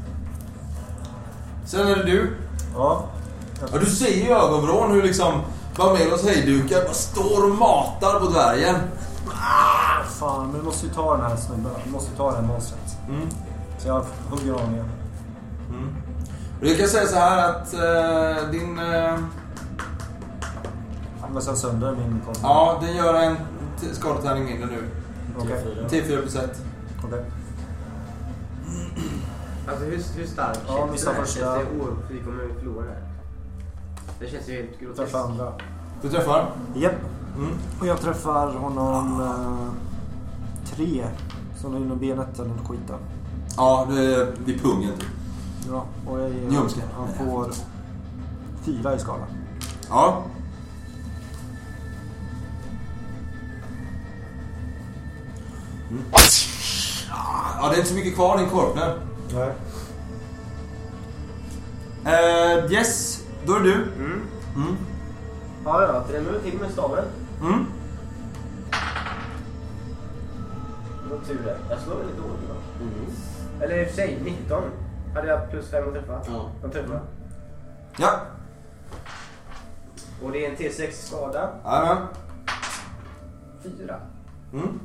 S2: Sen är det du.
S5: ja.
S2: Ja, du ser ju i ögonvrån hur liksom Barmelos hejdukar bara står och matar på dvärgen.
S5: Ah, Fan, men vi måste ju ta den här snubben. Vi måste ju ta det här monstret.
S2: Mm.
S5: Så jag hugger av igen.
S2: Du kan säga så här att eh, din... Eh,
S5: Men sen sönder min konst.
S2: ja, den gör en t- skadetärning mindre nu.
S5: Okej.
S2: T4 plus 1.
S5: Okej.
S1: Alltså hur, hur stark
S5: Ja,
S1: känns
S5: missa
S1: det här?
S5: första.
S1: Känns det oerhört? Vi kommer ju förlora det här. Det känns ju helt
S5: Jag
S1: groteskt.
S5: träffar andra.
S2: Du träffar?
S5: Japp.
S2: Mm.
S5: Och jag träffar honom... Eh, tre. Som är inom benet eller något skit där.
S2: Ja, det, det är pungen typ.
S5: Ja, och jag ger...
S2: Ljumske.
S5: Han får fyra i skala.
S2: Ja. Mm. Ja, det är inte så mycket kvar i din korpner.
S5: Nej.
S2: Eh, yes, då är det du.
S1: Mm.
S2: Mm.
S1: Ja, ja. Drämmer du till med staven?
S2: Mm.
S1: Det var tur det. Jag slår väldigt dåligt va?
S4: Mm.
S1: Eller i och för sig, 19. Hade jag plus 5 att träffa?
S4: Ja.
S1: Jag träffade.
S2: Ja.
S1: Och det är en T6 skada.
S2: Jajamän.
S1: 4.
S2: Mm.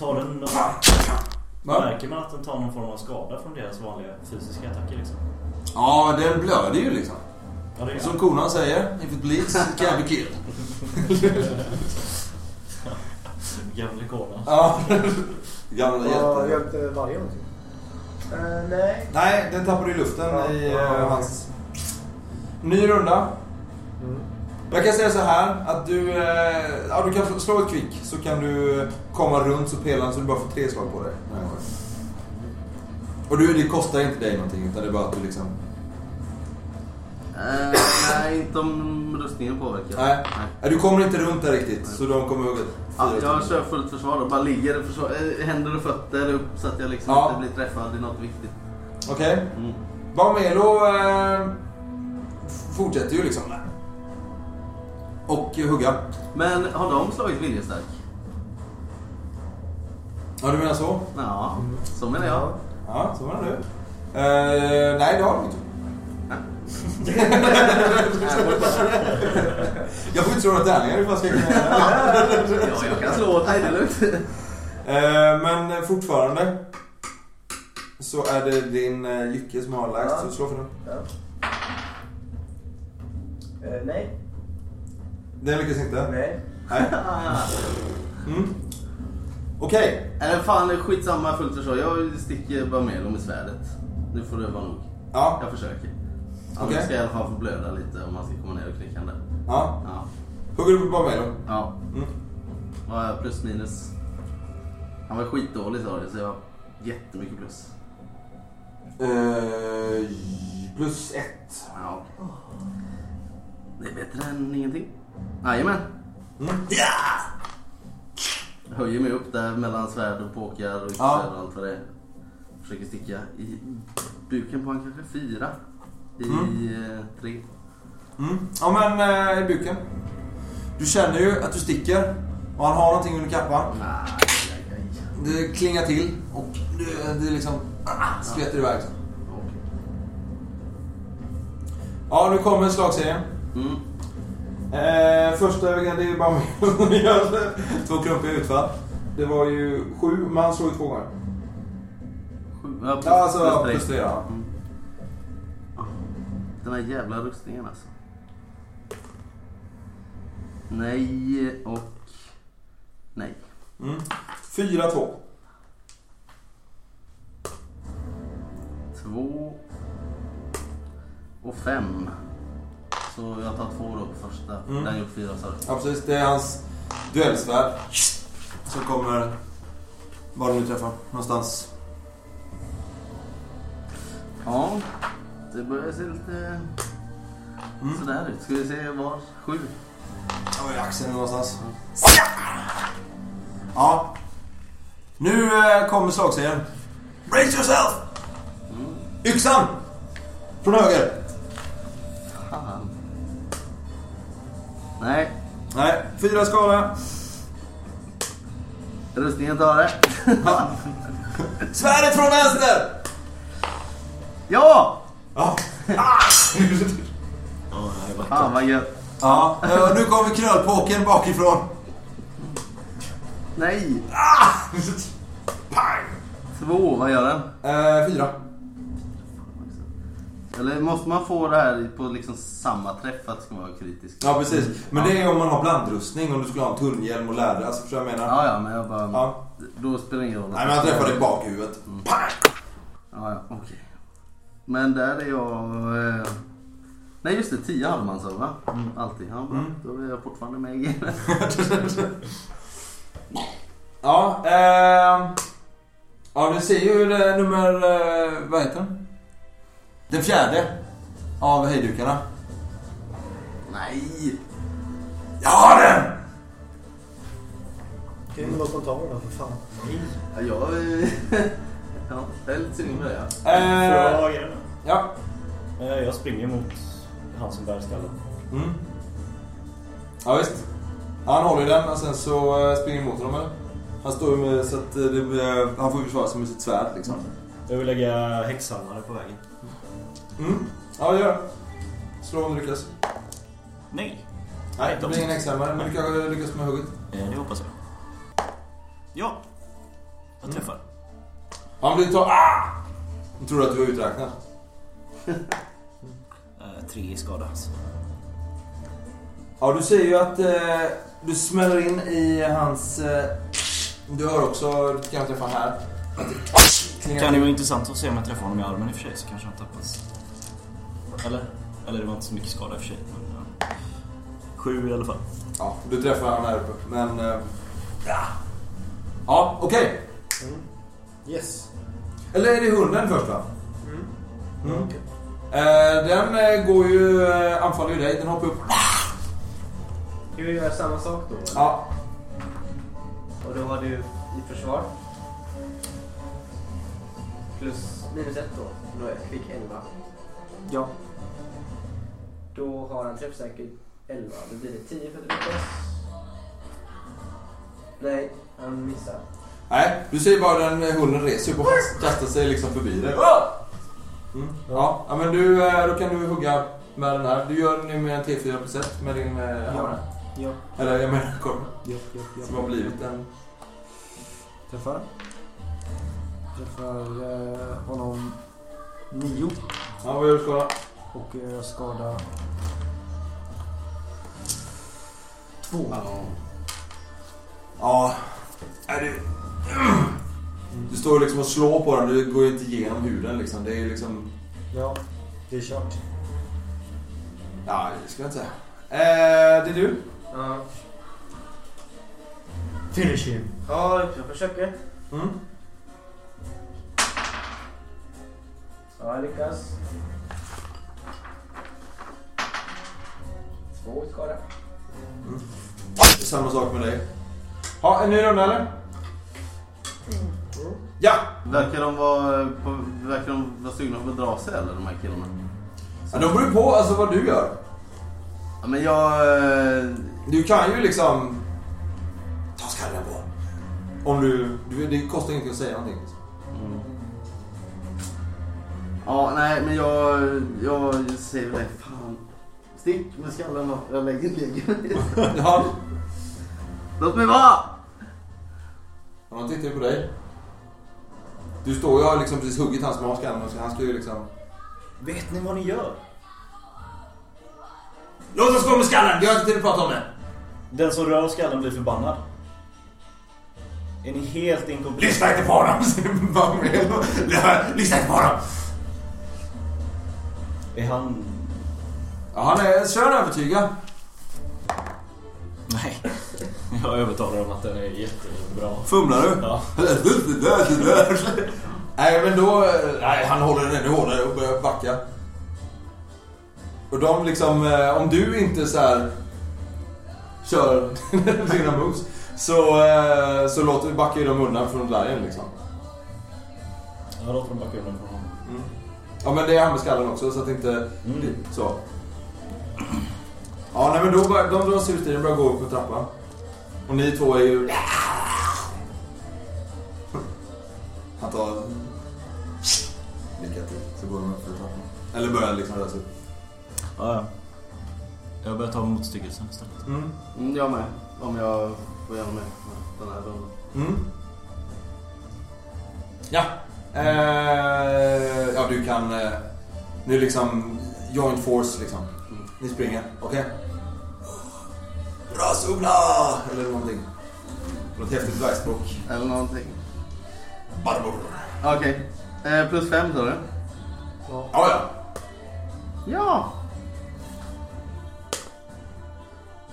S6: Tar den någon,
S2: Va?
S6: märker man att den tar någon form av skada från deras vanliga fysiska attacker liksom?
S2: Ja, den blöder ju liksom.
S6: Ja, det är
S2: Som konan säger, if it bleeds, it can be killed.
S6: Gamle kona.
S2: Ja. Gamla
S5: Vad
S2: hjälten.
S5: hjälpte vargen någonting?
S1: Eh, nej.
S2: Nej, den tappade ju luften
S5: Ja.
S2: i
S5: Ja.
S2: eh, hans... Ny runda. Jag kan säga så här att du... Eh, ja, du kan slå ett kvick så kan du komma runt så pelaren så du bara får tre slag på dig. Och du, det kostar inte dig någonting utan det är bara att du liksom...
S4: Eh, nej, inte om rustningen påverkar.
S2: Nej. Nej, Du kommer inte runt där riktigt så de kommer hugga.
S4: Ja, jag kör fullt försvar och bara ligger i försvar, eh, händer och fötter upp så att jag liksom
S2: Ja.
S4: inte blir träffad i något viktigt.
S2: Okej.
S4: Mm.
S2: Barmelo eh, f- fortsätter ju liksom. Och hugga.
S4: Men har de slagit viljestark?
S2: Ja, du menar så?
S4: Ja, så menar jag.
S2: Ja, så menar du. Eh, nej, det har de inte. jag får inte slå några tärningar ifall jag ska kunna göra det.
S4: Ja, jag kan slå åt dig, det är lugnt.
S2: Eh, Men fortfarande så är det din eh, Jycke som har lägst, så slå för den.
S1: Eh, nej.
S2: Den lyckas inte?
S1: Nej.
S2: Nej. Mm. Okej.
S4: Eller Eh, fan, skitsamma, fullt försvar. Jag sticker bara med dem i svärdet. Nu får det vara nog.
S2: Ja.
S4: Jag försöker. Han
S2: Okej.
S4: ska i alla fall få blöda lite om han ska komma ner och knycka den där.
S2: ja.
S4: Ja.
S2: Hugger du på Barmelo?
S4: Ja.
S2: Mm.
S4: Vad har jag? Plus minus. Han var skitdålig sa du, så jag har jättemycket plus.
S2: Eh, plus ett.
S4: Ja. Det är bättre än ingenting. Jajamän.
S2: Mm.
S4: Jag höjer mig upp där mellan svärd och påkar
S2: Ja.
S4: och yxor och allt vad det är. Försöker sticka i buken på han kanske. Fyra. I eh, tre.
S2: Mm. Ja men eh, i buken. Du känner ju att du sticker och han har någonting under kappan.
S4: Nej, aj, aj.
S2: Det klingar till och det, det liksom ah, skvätter iväg.
S4: Okej.
S2: Ja, nu kommer slagserien.
S4: Mm.
S2: Eh, första övergreppet är ju bara med som gör det. Två klumpiga utfall. Det var ju sju, men han slog ju två gånger.
S4: Sju. Ja, plus,
S2: Ja, alltså
S4: plus
S2: ja,
S4: tre.
S2: plus fyra.
S4: Mm. Ah, Den här jävla rustningen alltså. Nej och nej.
S2: Mm. Fyra, två.
S4: Två och fem. Så jag tar två då på första.
S2: Mm.
S4: Den gjorde fyra sa du.
S2: Ja, precis. Det är hans duellsvärd. Som kommer... Var du nu träffar. Någonstans.
S4: Ja, det börjar se lite
S2: Mm.
S4: sådär ut. Ska vi se var? Sju.
S2: Ja, i axeln någonstans. Ja. Nu eh, kommer slagserien. Brace yourself! Yxan! Från höger.
S4: Fan. Nej,
S2: Nej, fyra skada.
S4: rustningen tar det.
S2: Svärdet från vänster!
S4: Ja!
S2: Ja.
S4: Fan vad gött.
S2: Ja, eh, nu kommer knölpåken bakifrån.
S4: Nej!
S2: Ah!
S4: Två, vad gör den?
S2: Eh, fyra.
S4: Eller måste man få det här på liksom samma träff för att det ska vara kritisk?
S2: Ja, precis. Men det är ju om man har blandrustning. Om du skulle ha en tunnhjälm och läder. Alltså, förstår du vad jag menar?
S4: Ja, ja, men jag bara...
S2: Ja.
S4: Då spelar det ingen roll.
S2: Nej, men han träffade i bakhuvudet. Pang!
S4: Ja, ja, okej. Men där är jag... Eh... Nej, just det. Tio hade man så, va?
S2: Mm.
S4: Alltid. Ja, bra. Då är jag fortfarande med i gamet.
S2: Ja, eh, ja du ser ju det, nummer, eh, vad heter den? Den fjärde av hejdukarna.
S4: Nej!
S2: Jag har den!
S5: Kan ju låta dem ta den då, för fan.
S4: Ja, jag... eh, ja, jag är lite sugen på det, ja.
S2: Eh,
S6: Fråga den.
S2: ja.
S6: Eh, Jag springer mot han som bär skallen.
S2: Mm. Ja visst. Han håller ju den och sen så eh, springer mot honom eller? Han står ju med så att eh, det, blir- han får ju försvara sig med sitt svärd liksom.
S6: Jag vill lägga häxhammare på vägen.
S2: Mm. Ja gör det. Slå om du lyckas.
S6: Nej,
S2: Nej, det blir ingen extra men du lyckas- lyckas med hugget.
S6: Eh, det hoppas jag. Ja, Jag
S2: Mm.
S6: träffar.
S2: Han blir ta... Ah! Jag trodde att du var uträknad.
S6: Eh, tre i skada alltså.
S2: Ja, du ser ju att eh, du smäller in i hans... Eh, du hör också, du kan träffa här, att det klingar
S6: Kan det
S2: till.
S6: vara intressant att se om jag träffar honom i armen i och för sig så kanske han tappas. Eller? Eller det var inte så mycket skada i och för sig. Men, ja. Sju i alla fall.
S2: Ja, du träffar han här uppe, men... Eh, ja. ja, okej.
S5: Yes.
S2: Eller är det hunden först va? Mm. Eh, den eh, går ju, eh, anfaller ju dig, den hoppar upp.
S1: Ska vi göra samma sak då? eller?
S2: Ja,
S1: Och då har du i försvar. Plus minus ett då. Då jag fick 11.
S5: Ja.
S1: Då har han träffsäkert 11. Då blir det 10 för att lyckas. Nej, han missar.
S2: nej, du ser ju bara den eh, hunden reser upp och kastar sig liksom förbi dig. Ah! Mm. Ja, ja, men du, eh, då kan du hugga med den här. Du gör nu med en T4 plus 1 med din eh, hammare.
S5: Ja.
S2: Eller jag menar korven.
S5: Ja, ja, ja.
S2: Som har blivit en...
S5: Träffar. Träffar eh, honom nio
S2: Ja, vad gör du skada?
S5: och eh, skada två.
S2: Ja, är du... Du står ju liksom och slår på den, du går ju inte igenom huden liksom. Det är ju liksom...
S5: Ja, det är kört.
S2: Ja, det ska jag inte säga. Eh, det är du?
S1: Ja,
S5: Finish him.
S1: ja jag försöker.
S2: Mm.
S1: Ja, jag lyckas. Två i skada.
S2: Samma sak med dig. Ja, en ny runda eller? Ja!
S4: Verkar de vara, på, verkar de vara sugna på att dra sig eller de här killarna?
S2: ja då beror det på alltså, vad du gör.
S4: Ja, men jag... eh,
S2: Du kan ju liksom... Ta skallen på. Om du... du det kostar ingenting att säga någonting.
S4: Mm. Ja, nej, men jag, jag säger väl det. Fan. Stick med skallen då. Jag lägger lägger mig.
S2: Ja.
S4: Låt mig vara!
S2: Och de tittar ju på dig. Du står ju och har liksom precis huggit hans med skallen så han ska ju liksom...
S6: Vet ni vad ni gör?
S2: Låt oss gå med skallen! Vi har inte tid att prata om det.
S6: Den som rör skallen blir förbannad. Är ni helt inkompetenta?
S2: Lyssna inte på honom! Vad mer? Lyssna inte på honom!
S6: Är han...
S2: Ja, han är... Kör övertygad.
S6: Nej. Jag övertalar dem att den är jättebra.
S2: Fumlar du?
S6: Ja.
S2: nej men då, nej han håller den ännu hårdare och börjar backa. Och de liksom, eh, om du inte så här kör dina moves så, eh, så låter, backar ju de undan från Lion liksom.
S6: Jag låter dem backa undan från honom.
S2: Ja men det är han med skallen också så att inte,
S6: Mm.
S2: så. Ja nej men då börjar, de drar sig ut i den och börjar gå upp på trappan. Och ni två är ju... Han tar... Lycka till. Så går de upp för trappan. Eller börjar liksom röra sig upp.
S6: Ja, ja. Jag börjar ta motstyggelsen istället.
S2: Mm.
S4: Mm, jag med. Om jag får gärna med den här rundan.
S2: Mm. Ja. Eh, ja du kan... Eh, nu liksom... Joint force liksom.
S4: Mm.
S2: Ni springer. Okej? Rasugna! Eller någonting. Något häftigt dvärgspråk.
S4: Eller någonting.
S2: Barbor.
S4: Okej. Eh, plus fem sa du?
S2: Ja, ja.
S4: Ja!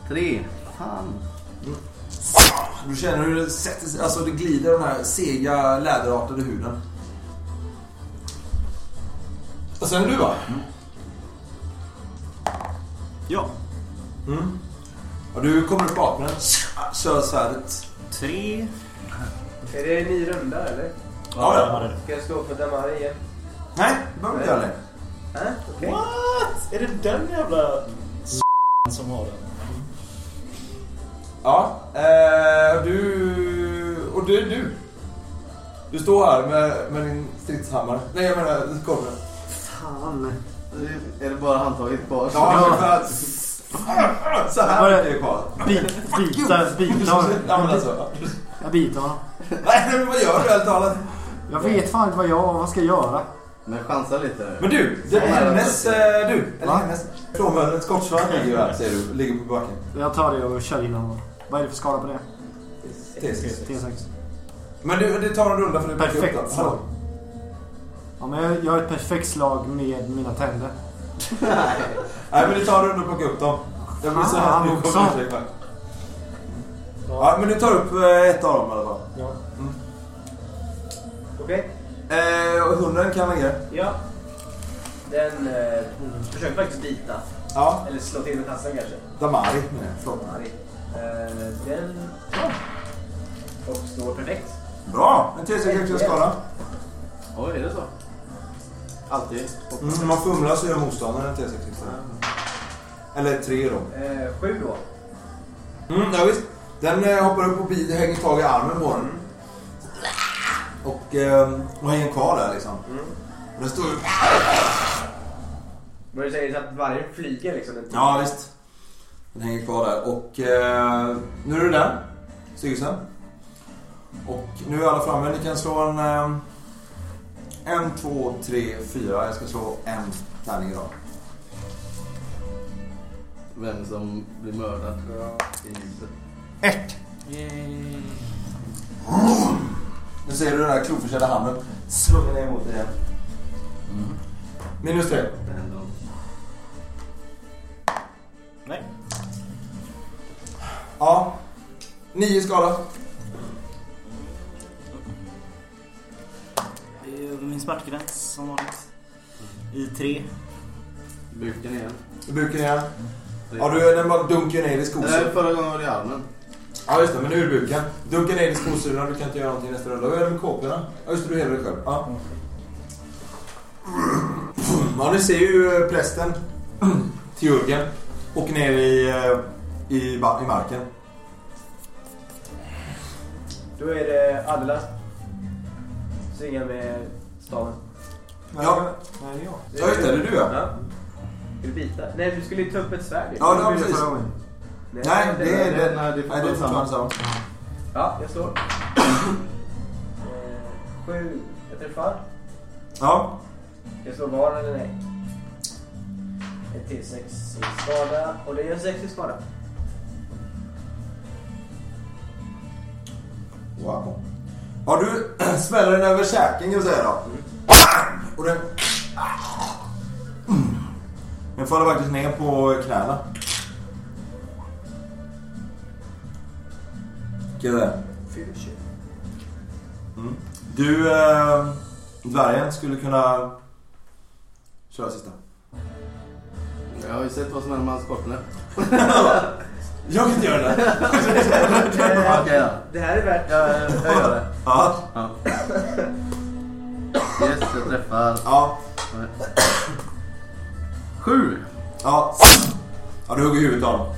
S4: Tre. Fan.
S2: Du känner hur det sätter sig, alltså det glider den här sega läderartade huden. Och sen är du va?
S6: Ja.
S2: Mm. Och du kommer upp bakom den, kör svärdet.
S6: Tre.
S1: Är det en ny runda eller?
S2: Ja, ja.
S6: jag hade det.
S1: Ska jag slå för Damari igen?
S2: Nej, det behöver du inte göra längre.
S1: Äh? Okej.
S6: What? Är det den jävla s***en som har den?
S2: Ja, eh, du... Och det är du. Du står här med, med din stridshammare. Nej, jag menar korven.
S5: Fan.
S4: Är det bara handtaget kvar?
S2: Ja, ungefär så här. Så här
S5: Var det-
S2: är det kvar.
S5: Bita, bita.
S2: Ja, men alltså.
S5: Jag biter honom.
S2: Nej, vad gör du helt talat?
S5: Jag vet fan inte vad jag vad ska jag göra.
S4: Men chansa lite.
S2: Men du, det är
S4: Nej,
S2: hennes... eh, Du, eller
S5: Va?
S2: hennes... Frånvaron, ett skottsvärd ligger ju här, säger du. Ligger på backen.
S5: Jag tar det och kör in honom. Vad är det för skada på det?
S2: T6.
S5: T6.
S2: Men du, det tar en runda för du backar upp
S5: Perfekt
S2: den.
S5: slag. Ja, men jag gör ett perfekt slag med mina tänder.
S2: Nej, men du tar en runda och plockar upp dem. Jag blir så
S5: Ah,
S2: här
S5: han
S2: nu
S5: också.
S2: kommer jag tillbaka. Ja, men du tar upp eh, ett av dem i alla fall.
S1: Ja.
S2: Mm.
S1: Okej.
S2: Eh, och hunden kan lägga.
S1: Ja. Den eh, hon försöker faktiskt bita.
S2: Ja,
S1: Eller slå till med tassen kanske.
S2: Damari menar jag. Förlåt.
S1: Arg. Eh, den... Ja. Och står perfekt.
S2: Bra! En T6 extra skada.
S4: Oj, är det så? Alltid. Och
S2: Mm, när man fumlar så gör motståndaren en T6 extra. Eller tre då.
S1: Eh, sju då.
S2: Mm, ja, visst. Mm. Den eh, hoppar upp och bi- hänger tag i armen på den. Och, eh, och hänger kvar där liksom. Och den står ju...
S1: Men du säger så att vargen flyger liksom. Den
S2: Ja, visst. Den hänger kvar där. Och eh, nu är du där, Sigurdsen. Och nu är alla framme. Ni kan slå en... Eh, en, två, tre, fyra. Jag ska slå en tärning idag.
S4: Vem som blir mördad. Inte.
S2: Nu ser du den här kloförsedda handen slunga ner mot dig igen. Minus tre.
S4: Det händer något.
S6: Nej.
S2: Ja. Nio skada.
S6: Det är över min smärtgräns som vanligt. I tre.
S4: Buken igen.
S2: Buken igen. Ja, du, den bara dunkar ner i skosulan.
S4: Nej, Eh, förra gången var det i armen.
S2: Ja just det, men nu är det buken. Dunka ner i skosulorna, du kan inte göra någonting nästa runda. Vad gör du med kåporna? Ja just det, du helar dig själv. Ja. ja, ni ser ju eh, prästen, Teurgen, åker ner i, eh, i, ba- i marken.
S1: Då är det Adela. Svingar med staven.
S2: Ja.
S5: Nej, det är jag.
S2: Ja just det, det är du ja.
S1: Ja. Ska du bita? Nej, du skulle ju ta upp ett svärd. ju.
S2: Ja, det var
S5: Det är
S2: precis.
S5: förra gången.
S2: Nej, det är det.
S4: Nej, nej, det är
S2: Nej, det är fortfarande samma.
S1: Ja, jag slår. Eh, Sju. Jag träffar.
S2: Ja.
S1: Ska jag slå var eller nej? Ett till sex i skada. Och det gör sex i skada.
S2: Wow. Ja, du smäller den över käken kan vi säga då. Och den... Mm. Den faller faktiskt ner på knäna. Vilket det? Mm. Du, eh, dvärgen, skulle kunna köra sista.
S4: Jag har ju sett vad som händer med hans kortne.
S2: Jag kan inte göra det.
S4: Okej då.
S1: Eh, Det här är värt...
S4: Jag, jag gör det.
S2: Ja.
S4: Ja. Yes, jag träffar.
S2: Ja.
S4: Sju!
S2: Ja. Ja, du hugger huvudet av honom.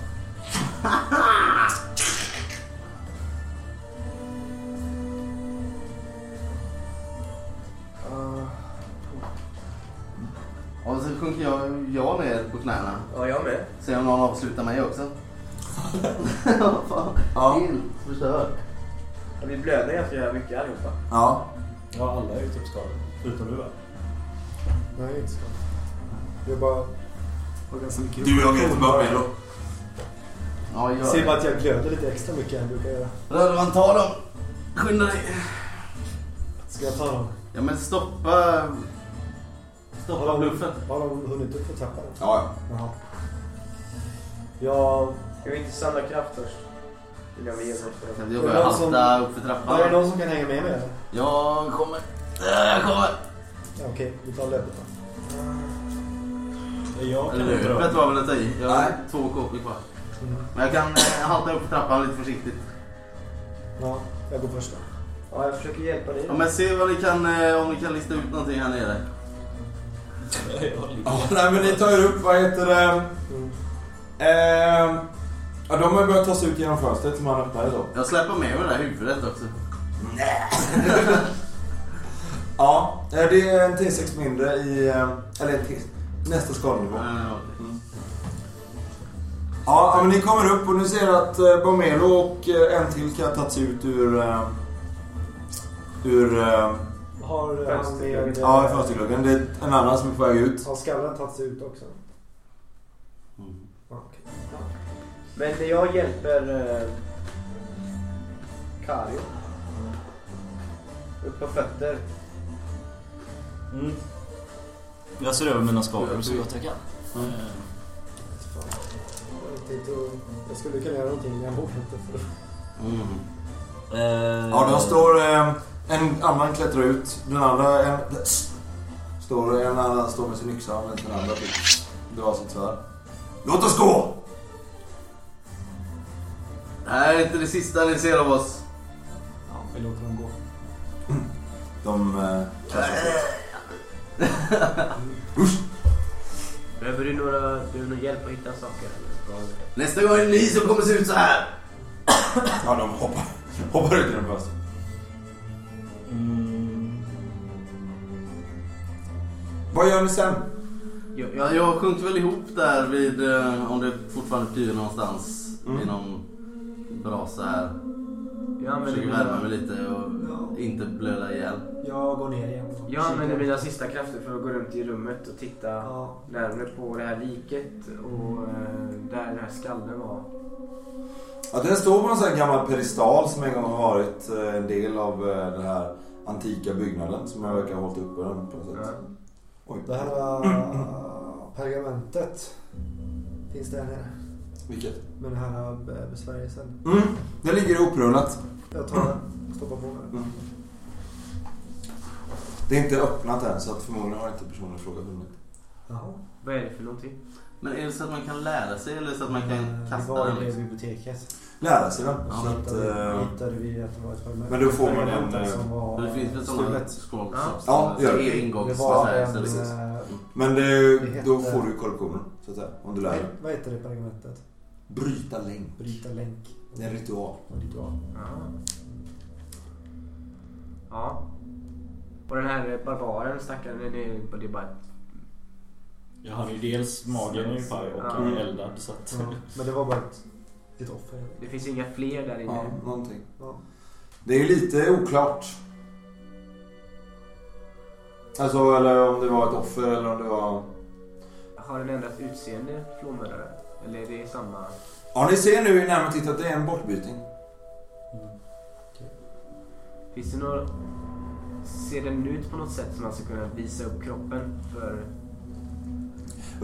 S5: Ah,
S4: Och så sjunker jag, jag ner på knäna.
S1: Ja, jag med.
S4: Se om någon avslutar mig också. Vad fan?
S2: Ja.
S4: Helt förstörd.
S1: Ja, Vi blöder ganska jävla mycket allihopa.
S2: Ja.
S6: Ja, alla är ju typ skadade. Utom du va?
S5: Nej, inte så. Jag bara... Var ganska mycket
S2: Du, jag vet inte bara mer då.
S4: Ja, gör
S5: Ser bara
S4: det.
S5: att jag glöder lite extra mycket än jag brukar göra.
S4: Rödvan, ta dem! Skynda dig!
S5: Ska jag ta dem?
S4: Ja, men stoppa... Stoppa bluffen.
S5: Har de hunnit upp och tappa dem?
S2: Ja, ja.
S5: Jaha. Jag...
S1: Ska vi inte samla kraft först? Innan vi ger oss på det.
S4: Jag
S5: Är
S4: börjar
S5: det någon som-
S4: halta uppför
S5: Var det
S4: trappan.
S5: någon som kan hänga med mig eller?
S4: Jag kommer. Jag kommer!
S5: Ja, okej, vi tar löpet då.
S6: Jag kan
S4: Eller
S6: inte röra
S4: löpet var väl att ta i. Jag har
S2: Nej.
S4: två kåpor kvar.
S2: Mm.
S4: Men jag kan eh, halta upp för trappan lite försiktigt.
S5: Ja, jag går först då.
S1: Ja, jag försöker hjälpa dig.
S4: Ja, men se vad ni kan, eh, om ni kan lista ut någonting här nere.
S2: Ja, nej men ni tar ju upp, vad heter det? Mm. Ehm, ja, de har börjat ta sig ut genom fönstret som han öppnade då.
S4: Jag släpar med mig det där huvudet också.
S2: Ja, eh, det är en T6 eh, mindre i, eh, eller en T, nästa skadnivå.
S4: Eh, okej.
S2: Ja, ja, men ni kommer upp och ni ser att eh, Bomelo och eh, en till har tagit sig ut ur... Eh, ur... Eh,
S5: Har han
S1: Fönstergluggen.
S5: med...
S2: ja, fönstergluggen. Det är en annan som är på väg ut.
S5: Har skallen tagit sig ut också?
S6: Mm.
S5: Ja, okej.
S1: Men jag hjälper eh, Kario. Upp på fötter.
S6: Mm. Jag ser över mina skador så gott jag kan. Eh,
S5: Fan. Jag vet inte hur- Jag skulle kunna göra någonting men jag vågar inte. För...
S4: mm.
S6: Eh,
S2: Ja, där står eh, en annan klättrar ut. Den andra... En, står, en annan står med sin yxa medan den andra typ drar sitt svärd. Låt oss gå!
S4: Det här är inte det sista ni ser av oss.
S5: Ja, vi låter dem gå.
S2: De eh, kastar sig ut.
S1: Behöver du några, behöver någon hjälp att hitta saker? Eller?
S4: Nästa gång är det ni som kommer se ut så här.
S2: Ja, de hoppar, hoppar ut genom fönstret.
S6: Mm.
S2: Vad gör ni sen?
S1: Jag,
S4: Ja, jag sjönk väl ihop där vid, eh, om det fortfarande pyr någonstans,
S2: Mm.
S4: vid någon brasa här.
S1: jag
S4: Försöker värma mig lite och inte blöda ihjäl.
S5: Jag går ner igen. och
S1: Jag använder
S5: kikar.
S1: mina sista krafter för att gå runt i rummet och titta
S5: Ja,
S1: närmare på det här liket och eh, där den här skallen var.
S2: Ja, den står på någon sån här gammal pedestal som en gång har varit eh, en del av eh, den här antika byggnaden som jag verkar ha hållit uppe den på något
S1: Ja.
S2: sätt. Oj.
S5: det här äh, pergamentet finns det här nere.
S2: Vilket?
S5: Med den här äh, besvärjelsen.
S2: Mm, det ligger oprullat.
S5: Jag tar den och stoppar på mig den.
S2: Det är inte öppnat än så att förmodligen har inte personen i fråga hunnit.
S5: Jaha.
S1: Vad är det för någonting?
S4: Men är det så att man kan lära sig eller så att man
S5: Eh,
S4: kan
S5: Det var
S4: kasta
S5: i
S4: den?
S5: det
S4: liksom?
S5: biblioteket.
S2: Lära sig den.
S4: Ja,
S2: så att,
S5: Hittade,
S2: eh,
S5: hittade vi att det var ett pergament.
S2: men då får man en,
S5: pergamentet
S2: eh,
S5: som var,
S4: För Det finns väl sådana
S5: stulet.
S4: scrolls
S1: Ja.
S4: också?
S2: Ja, det gör
S4: det. är
S5: Det
S4: ingångs- så
S5: var
S4: här, så
S5: en...
S4: det-
S5: eh,
S2: men det,
S5: Det heter-
S2: då får du korruptionen så att säga. Om du lär dig.
S5: vad heter det pergamentet?
S2: Bryta länk.
S5: Bryta länk.
S2: Det är en ritual.
S5: Och ritual.
S1: Ja. ja. Och den här barbaren stackaren, den är, det är bara ett...
S6: Jag hade ju dels magen i paj och jag
S1: Ja.
S6: är eldad så att...
S5: Ja, men det var bara ett, ett offer. helt enkelt.
S1: Det finns inga fler där
S2: Ja,
S1: inne.
S2: någonting.
S5: Ja.
S2: Det är lite oklart. Alltså, eller om det var ett offer eller om det var...
S1: Har den ändrat utseende, flåmördaren? Eller är det samma?
S2: Ja, ni ser nu i närmare titt att det är en bortbyting.
S1: Finns det några... Ser den ut på något sätt som man ska kunna visa upp kroppen för...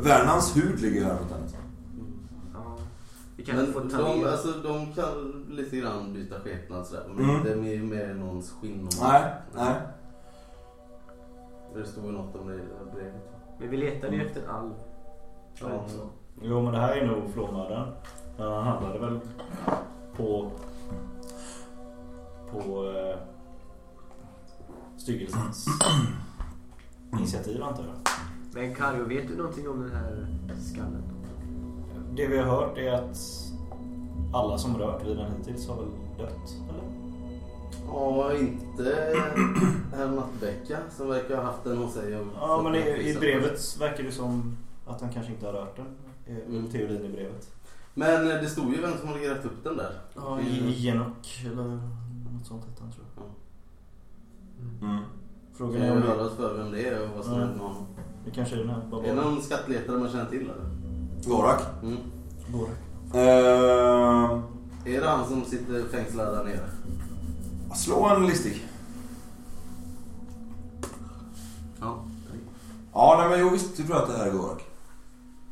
S2: Värnans hud ligger här mot henne.
S1: Ja. Vi kanske
S4: Men
S1: får ta
S4: de,
S1: ner...
S4: alltså, de kan lite grann byta skepnad sådär. Men
S2: Mm.
S4: inte mer, mer än någons skinn. och-
S2: Nej, nej.
S4: Det stod ju något om det i brevet.
S1: Men vi letade ju efter en alv.
S4: Ja.
S6: Jo men det här är nog flåmördaren. Men han handlade väl på... På... Eh, styggelsens initiativ antar jag.
S1: Men Kario, vet du någonting om den här skallen?
S6: Det vi har hört är att alla som rört vid den hittills har väl dött? Eller?
S4: Ja, inte herr Nattvecka som verkar ha haft den hos sig. och
S6: Ja
S4: fått
S6: men i,
S4: den
S6: i
S4: fixad.
S6: brevet verkar det som att han kanske inte har rört den. Eh,
S4: Mm.
S6: Teorin i brevet.
S4: Men eh, det stod ju vem som hade grävt upp den där.
S6: Ja,
S4: Mm.
S6: Genok eller något sånt hette han tror jag.
S2: Mm.
S4: Kan
S6: Frågan
S4: jag
S6: är om det,
S4: höra oss för vem det är och vad som
S6: Mm.
S4: hänt med honom.
S6: det kanske är den här
S4: Är det
S6: barbaren.
S4: någon skattletare man känner till eller?
S2: Gorak.
S4: Mm.
S6: Borak.
S2: Eh,
S4: Är det han som sitter fängslad där nere?
S2: slå en listig.
S4: Ja.
S2: Ja, nej men jo visst. Du tror att det här är Gorak.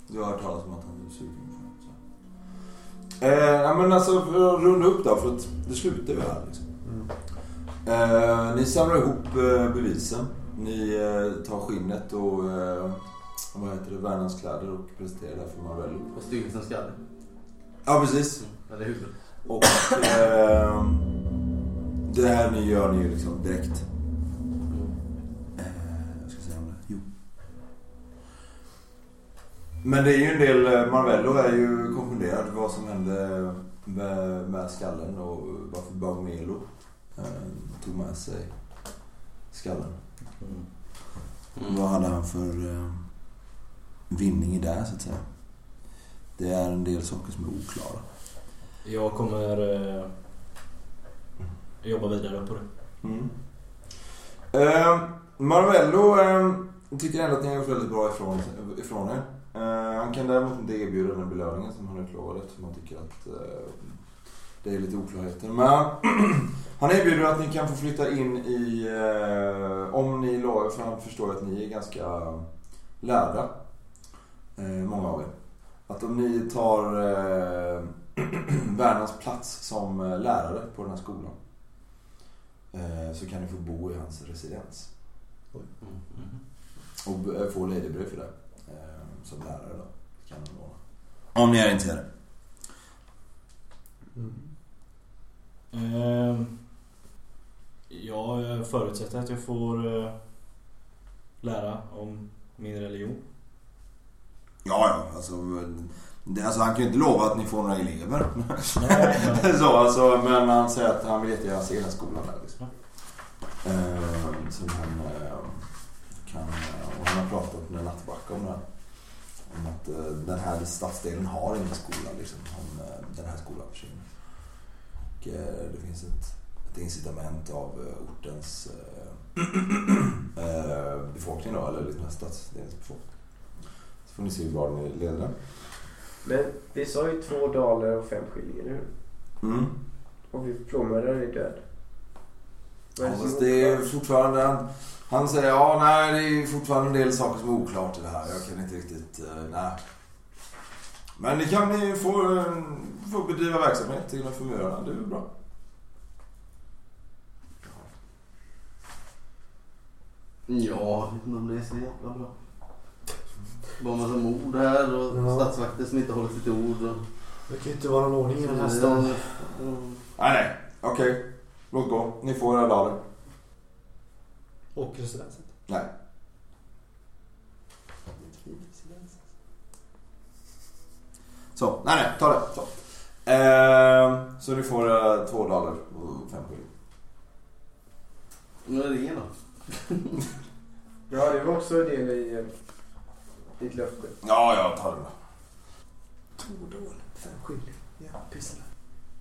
S2: Du har hört talas om att han är sugen på det, så. Eh, nej men alltså för att runda upp då. För att det slutar ju här liksom.
S5: Mm.
S2: Eh, ni samlar ihop eh, bevisen. Ni eh, tar skinnet och eh, vad heter det, värnans kläder och presenterar det här för Marvello.
S4: Och styggelsen skalle.
S2: Ja, precis.
S4: Mm. Eller huvudet.
S2: Och eh, det här ni gör ni ju liksom direkt. Mm. Eh, jag ska säga om det. Jo. Men det är ju en del, eh, Marvello är ju konfunderad vad som hände med, med skallen och varför Barmelo eh, tog med sig skallen.
S6: Mm.
S4: Mm.
S2: Vad hade han för eh, vinning i det så att säga? Det är en del saker som är oklara.
S6: Jag kommer eh, jobba vidare på det.
S2: Mm. Eh, Marvello eh, tycker ändå att ni har gjort väldigt bra ifrån, ifrån er. Eh, han kan däremot inte erbjuda den här belöningen som han utlovade eftersom han tycker att eh, det är lite oklarheter. Men han erbjuder att ni kan få flytta in i, eh, om ni lovar, för han förstår att ni är ganska lärda. Eh, många av er. Att om ni tar eh, Värnans plats som eh, lärare på den här skolan eh, så kan ni få bo i hans residens.
S4: Mm.
S2: Och b- eh, få ladybrev för det. eh, Som lärare då. Kan han låna. Om ni är intresserade.
S5: Mm.
S6: Eh, ja, jag förutsätter att jag får eh, lära om min religion.
S2: Ja, ja. Alltså, det, alltså han kan ju inte lova att ni får några elever.
S6: Nej, men-
S2: så, alltså, men han säger att han vill jättegärna se den skolan där. Liksom. Eh, som han eh, kan... eh, Och han har pratat med Nattbacka om det här. Om att eh, den här stadsdelen har ingen skola. Liksom, om eh, den här skolan försvinner. Och eh, det finns ett, ett incitament av eh, ortens eh, eh, befolkning då, eller liksom stadsdelens befolkning. Så får ni se hur bra ni leder den.
S1: Men vi sa ju två daler och fem skillingar, eller hur?
S2: Mm.
S1: Och vi plånmördaren är död. Vad är
S2: Ja,
S1: det som
S2: fast det är
S1: oklar?
S2: fortfarande... Han, han säger ja, nej, det är fortfarande en del saker som är oklart i det här. Jag kan inte riktigt... eh, nej. Men ni kan ni få, eh, få bedriva verksamhet innanför murarna. Det är väl bra.
S4: Ja, jag vet inte om det är så jävla bra. Bara massa mord här och
S5: Ja.
S4: statsvakter som inte håller sitt ord. Och...
S5: Det kan ju inte vara någon ordning i den
S4: Mm.
S5: här stan.
S2: Nej, nej. Okej. Låt gå. Ni får era daler.
S5: Och residenset.
S2: Nej. Så. Nej, nej. Ta det. Så, eh, så ni får era två daler och fem skilling.
S4: Men ringen då?
S1: Ja, det var också en del i eh, ditt löfte.
S2: Ja, jag tar det.
S5: Fem skilling. Ja, pissla.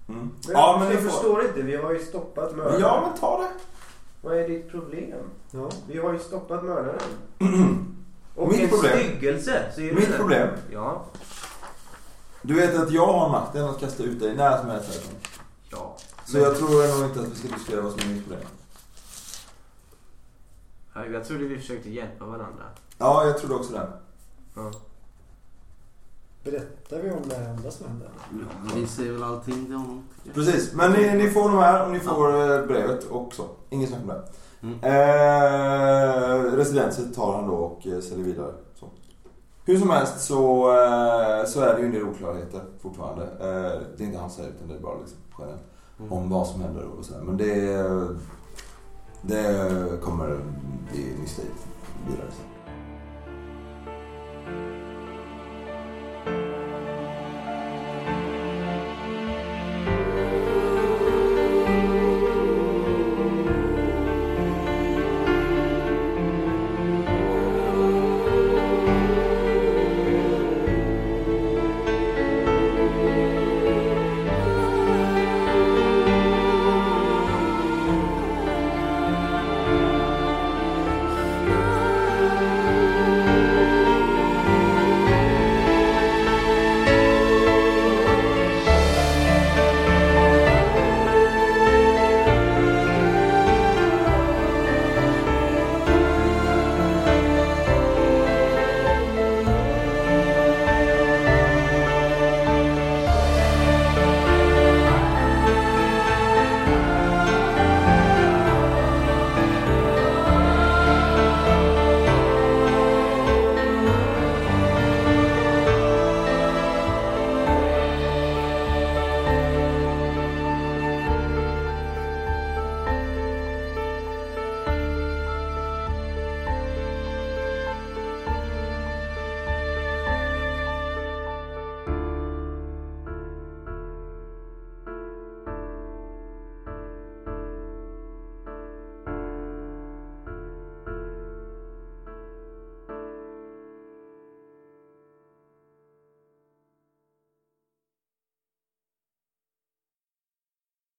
S2: Mm.
S1: Men
S2: Ja,
S1: jag
S2: men ni får...
S1: förstår inte, vi har ju stoppat mördaren.
S2: Ja, men ta det.
S1: Vad är ditt problem?
S5: Ja.
S1: Vi har ju stoppat mördaren. Och
S2: Mitt
S1: en
S2: problem.
S1: styggelse, säger du
S2: Mitt
S1: det?
S2: problem.
S1: Ja.
S2: Du vet att jag har makten att kasta ut dig när som helst härifrån.
S1: Ja.
S2: Så jag tror nog inte att vi ska diskutera vad som är mitt problem.
S1: Ja, Jag trodde vi försökte hjälpa varandra.
S2: Ja, jag trodde också det.
S5: Berättar vi om det andra som hände?
S4: Vi ser väl allting till honom.
S2: Precis, men ni, ni får de här och ni får eh, brevet och så. Inget snack om det.
S4: Mm.
S2: Eh, residenset tar han då och eh, säljer vidare. Så. Hur som helst så, eh, så är det ju en del oklarheter fortfarande. Eh, det är inte han säger utan det är bara liksom generellt. Om vad som händer och sådär. Men det, det kommer bli nyss vidare sen.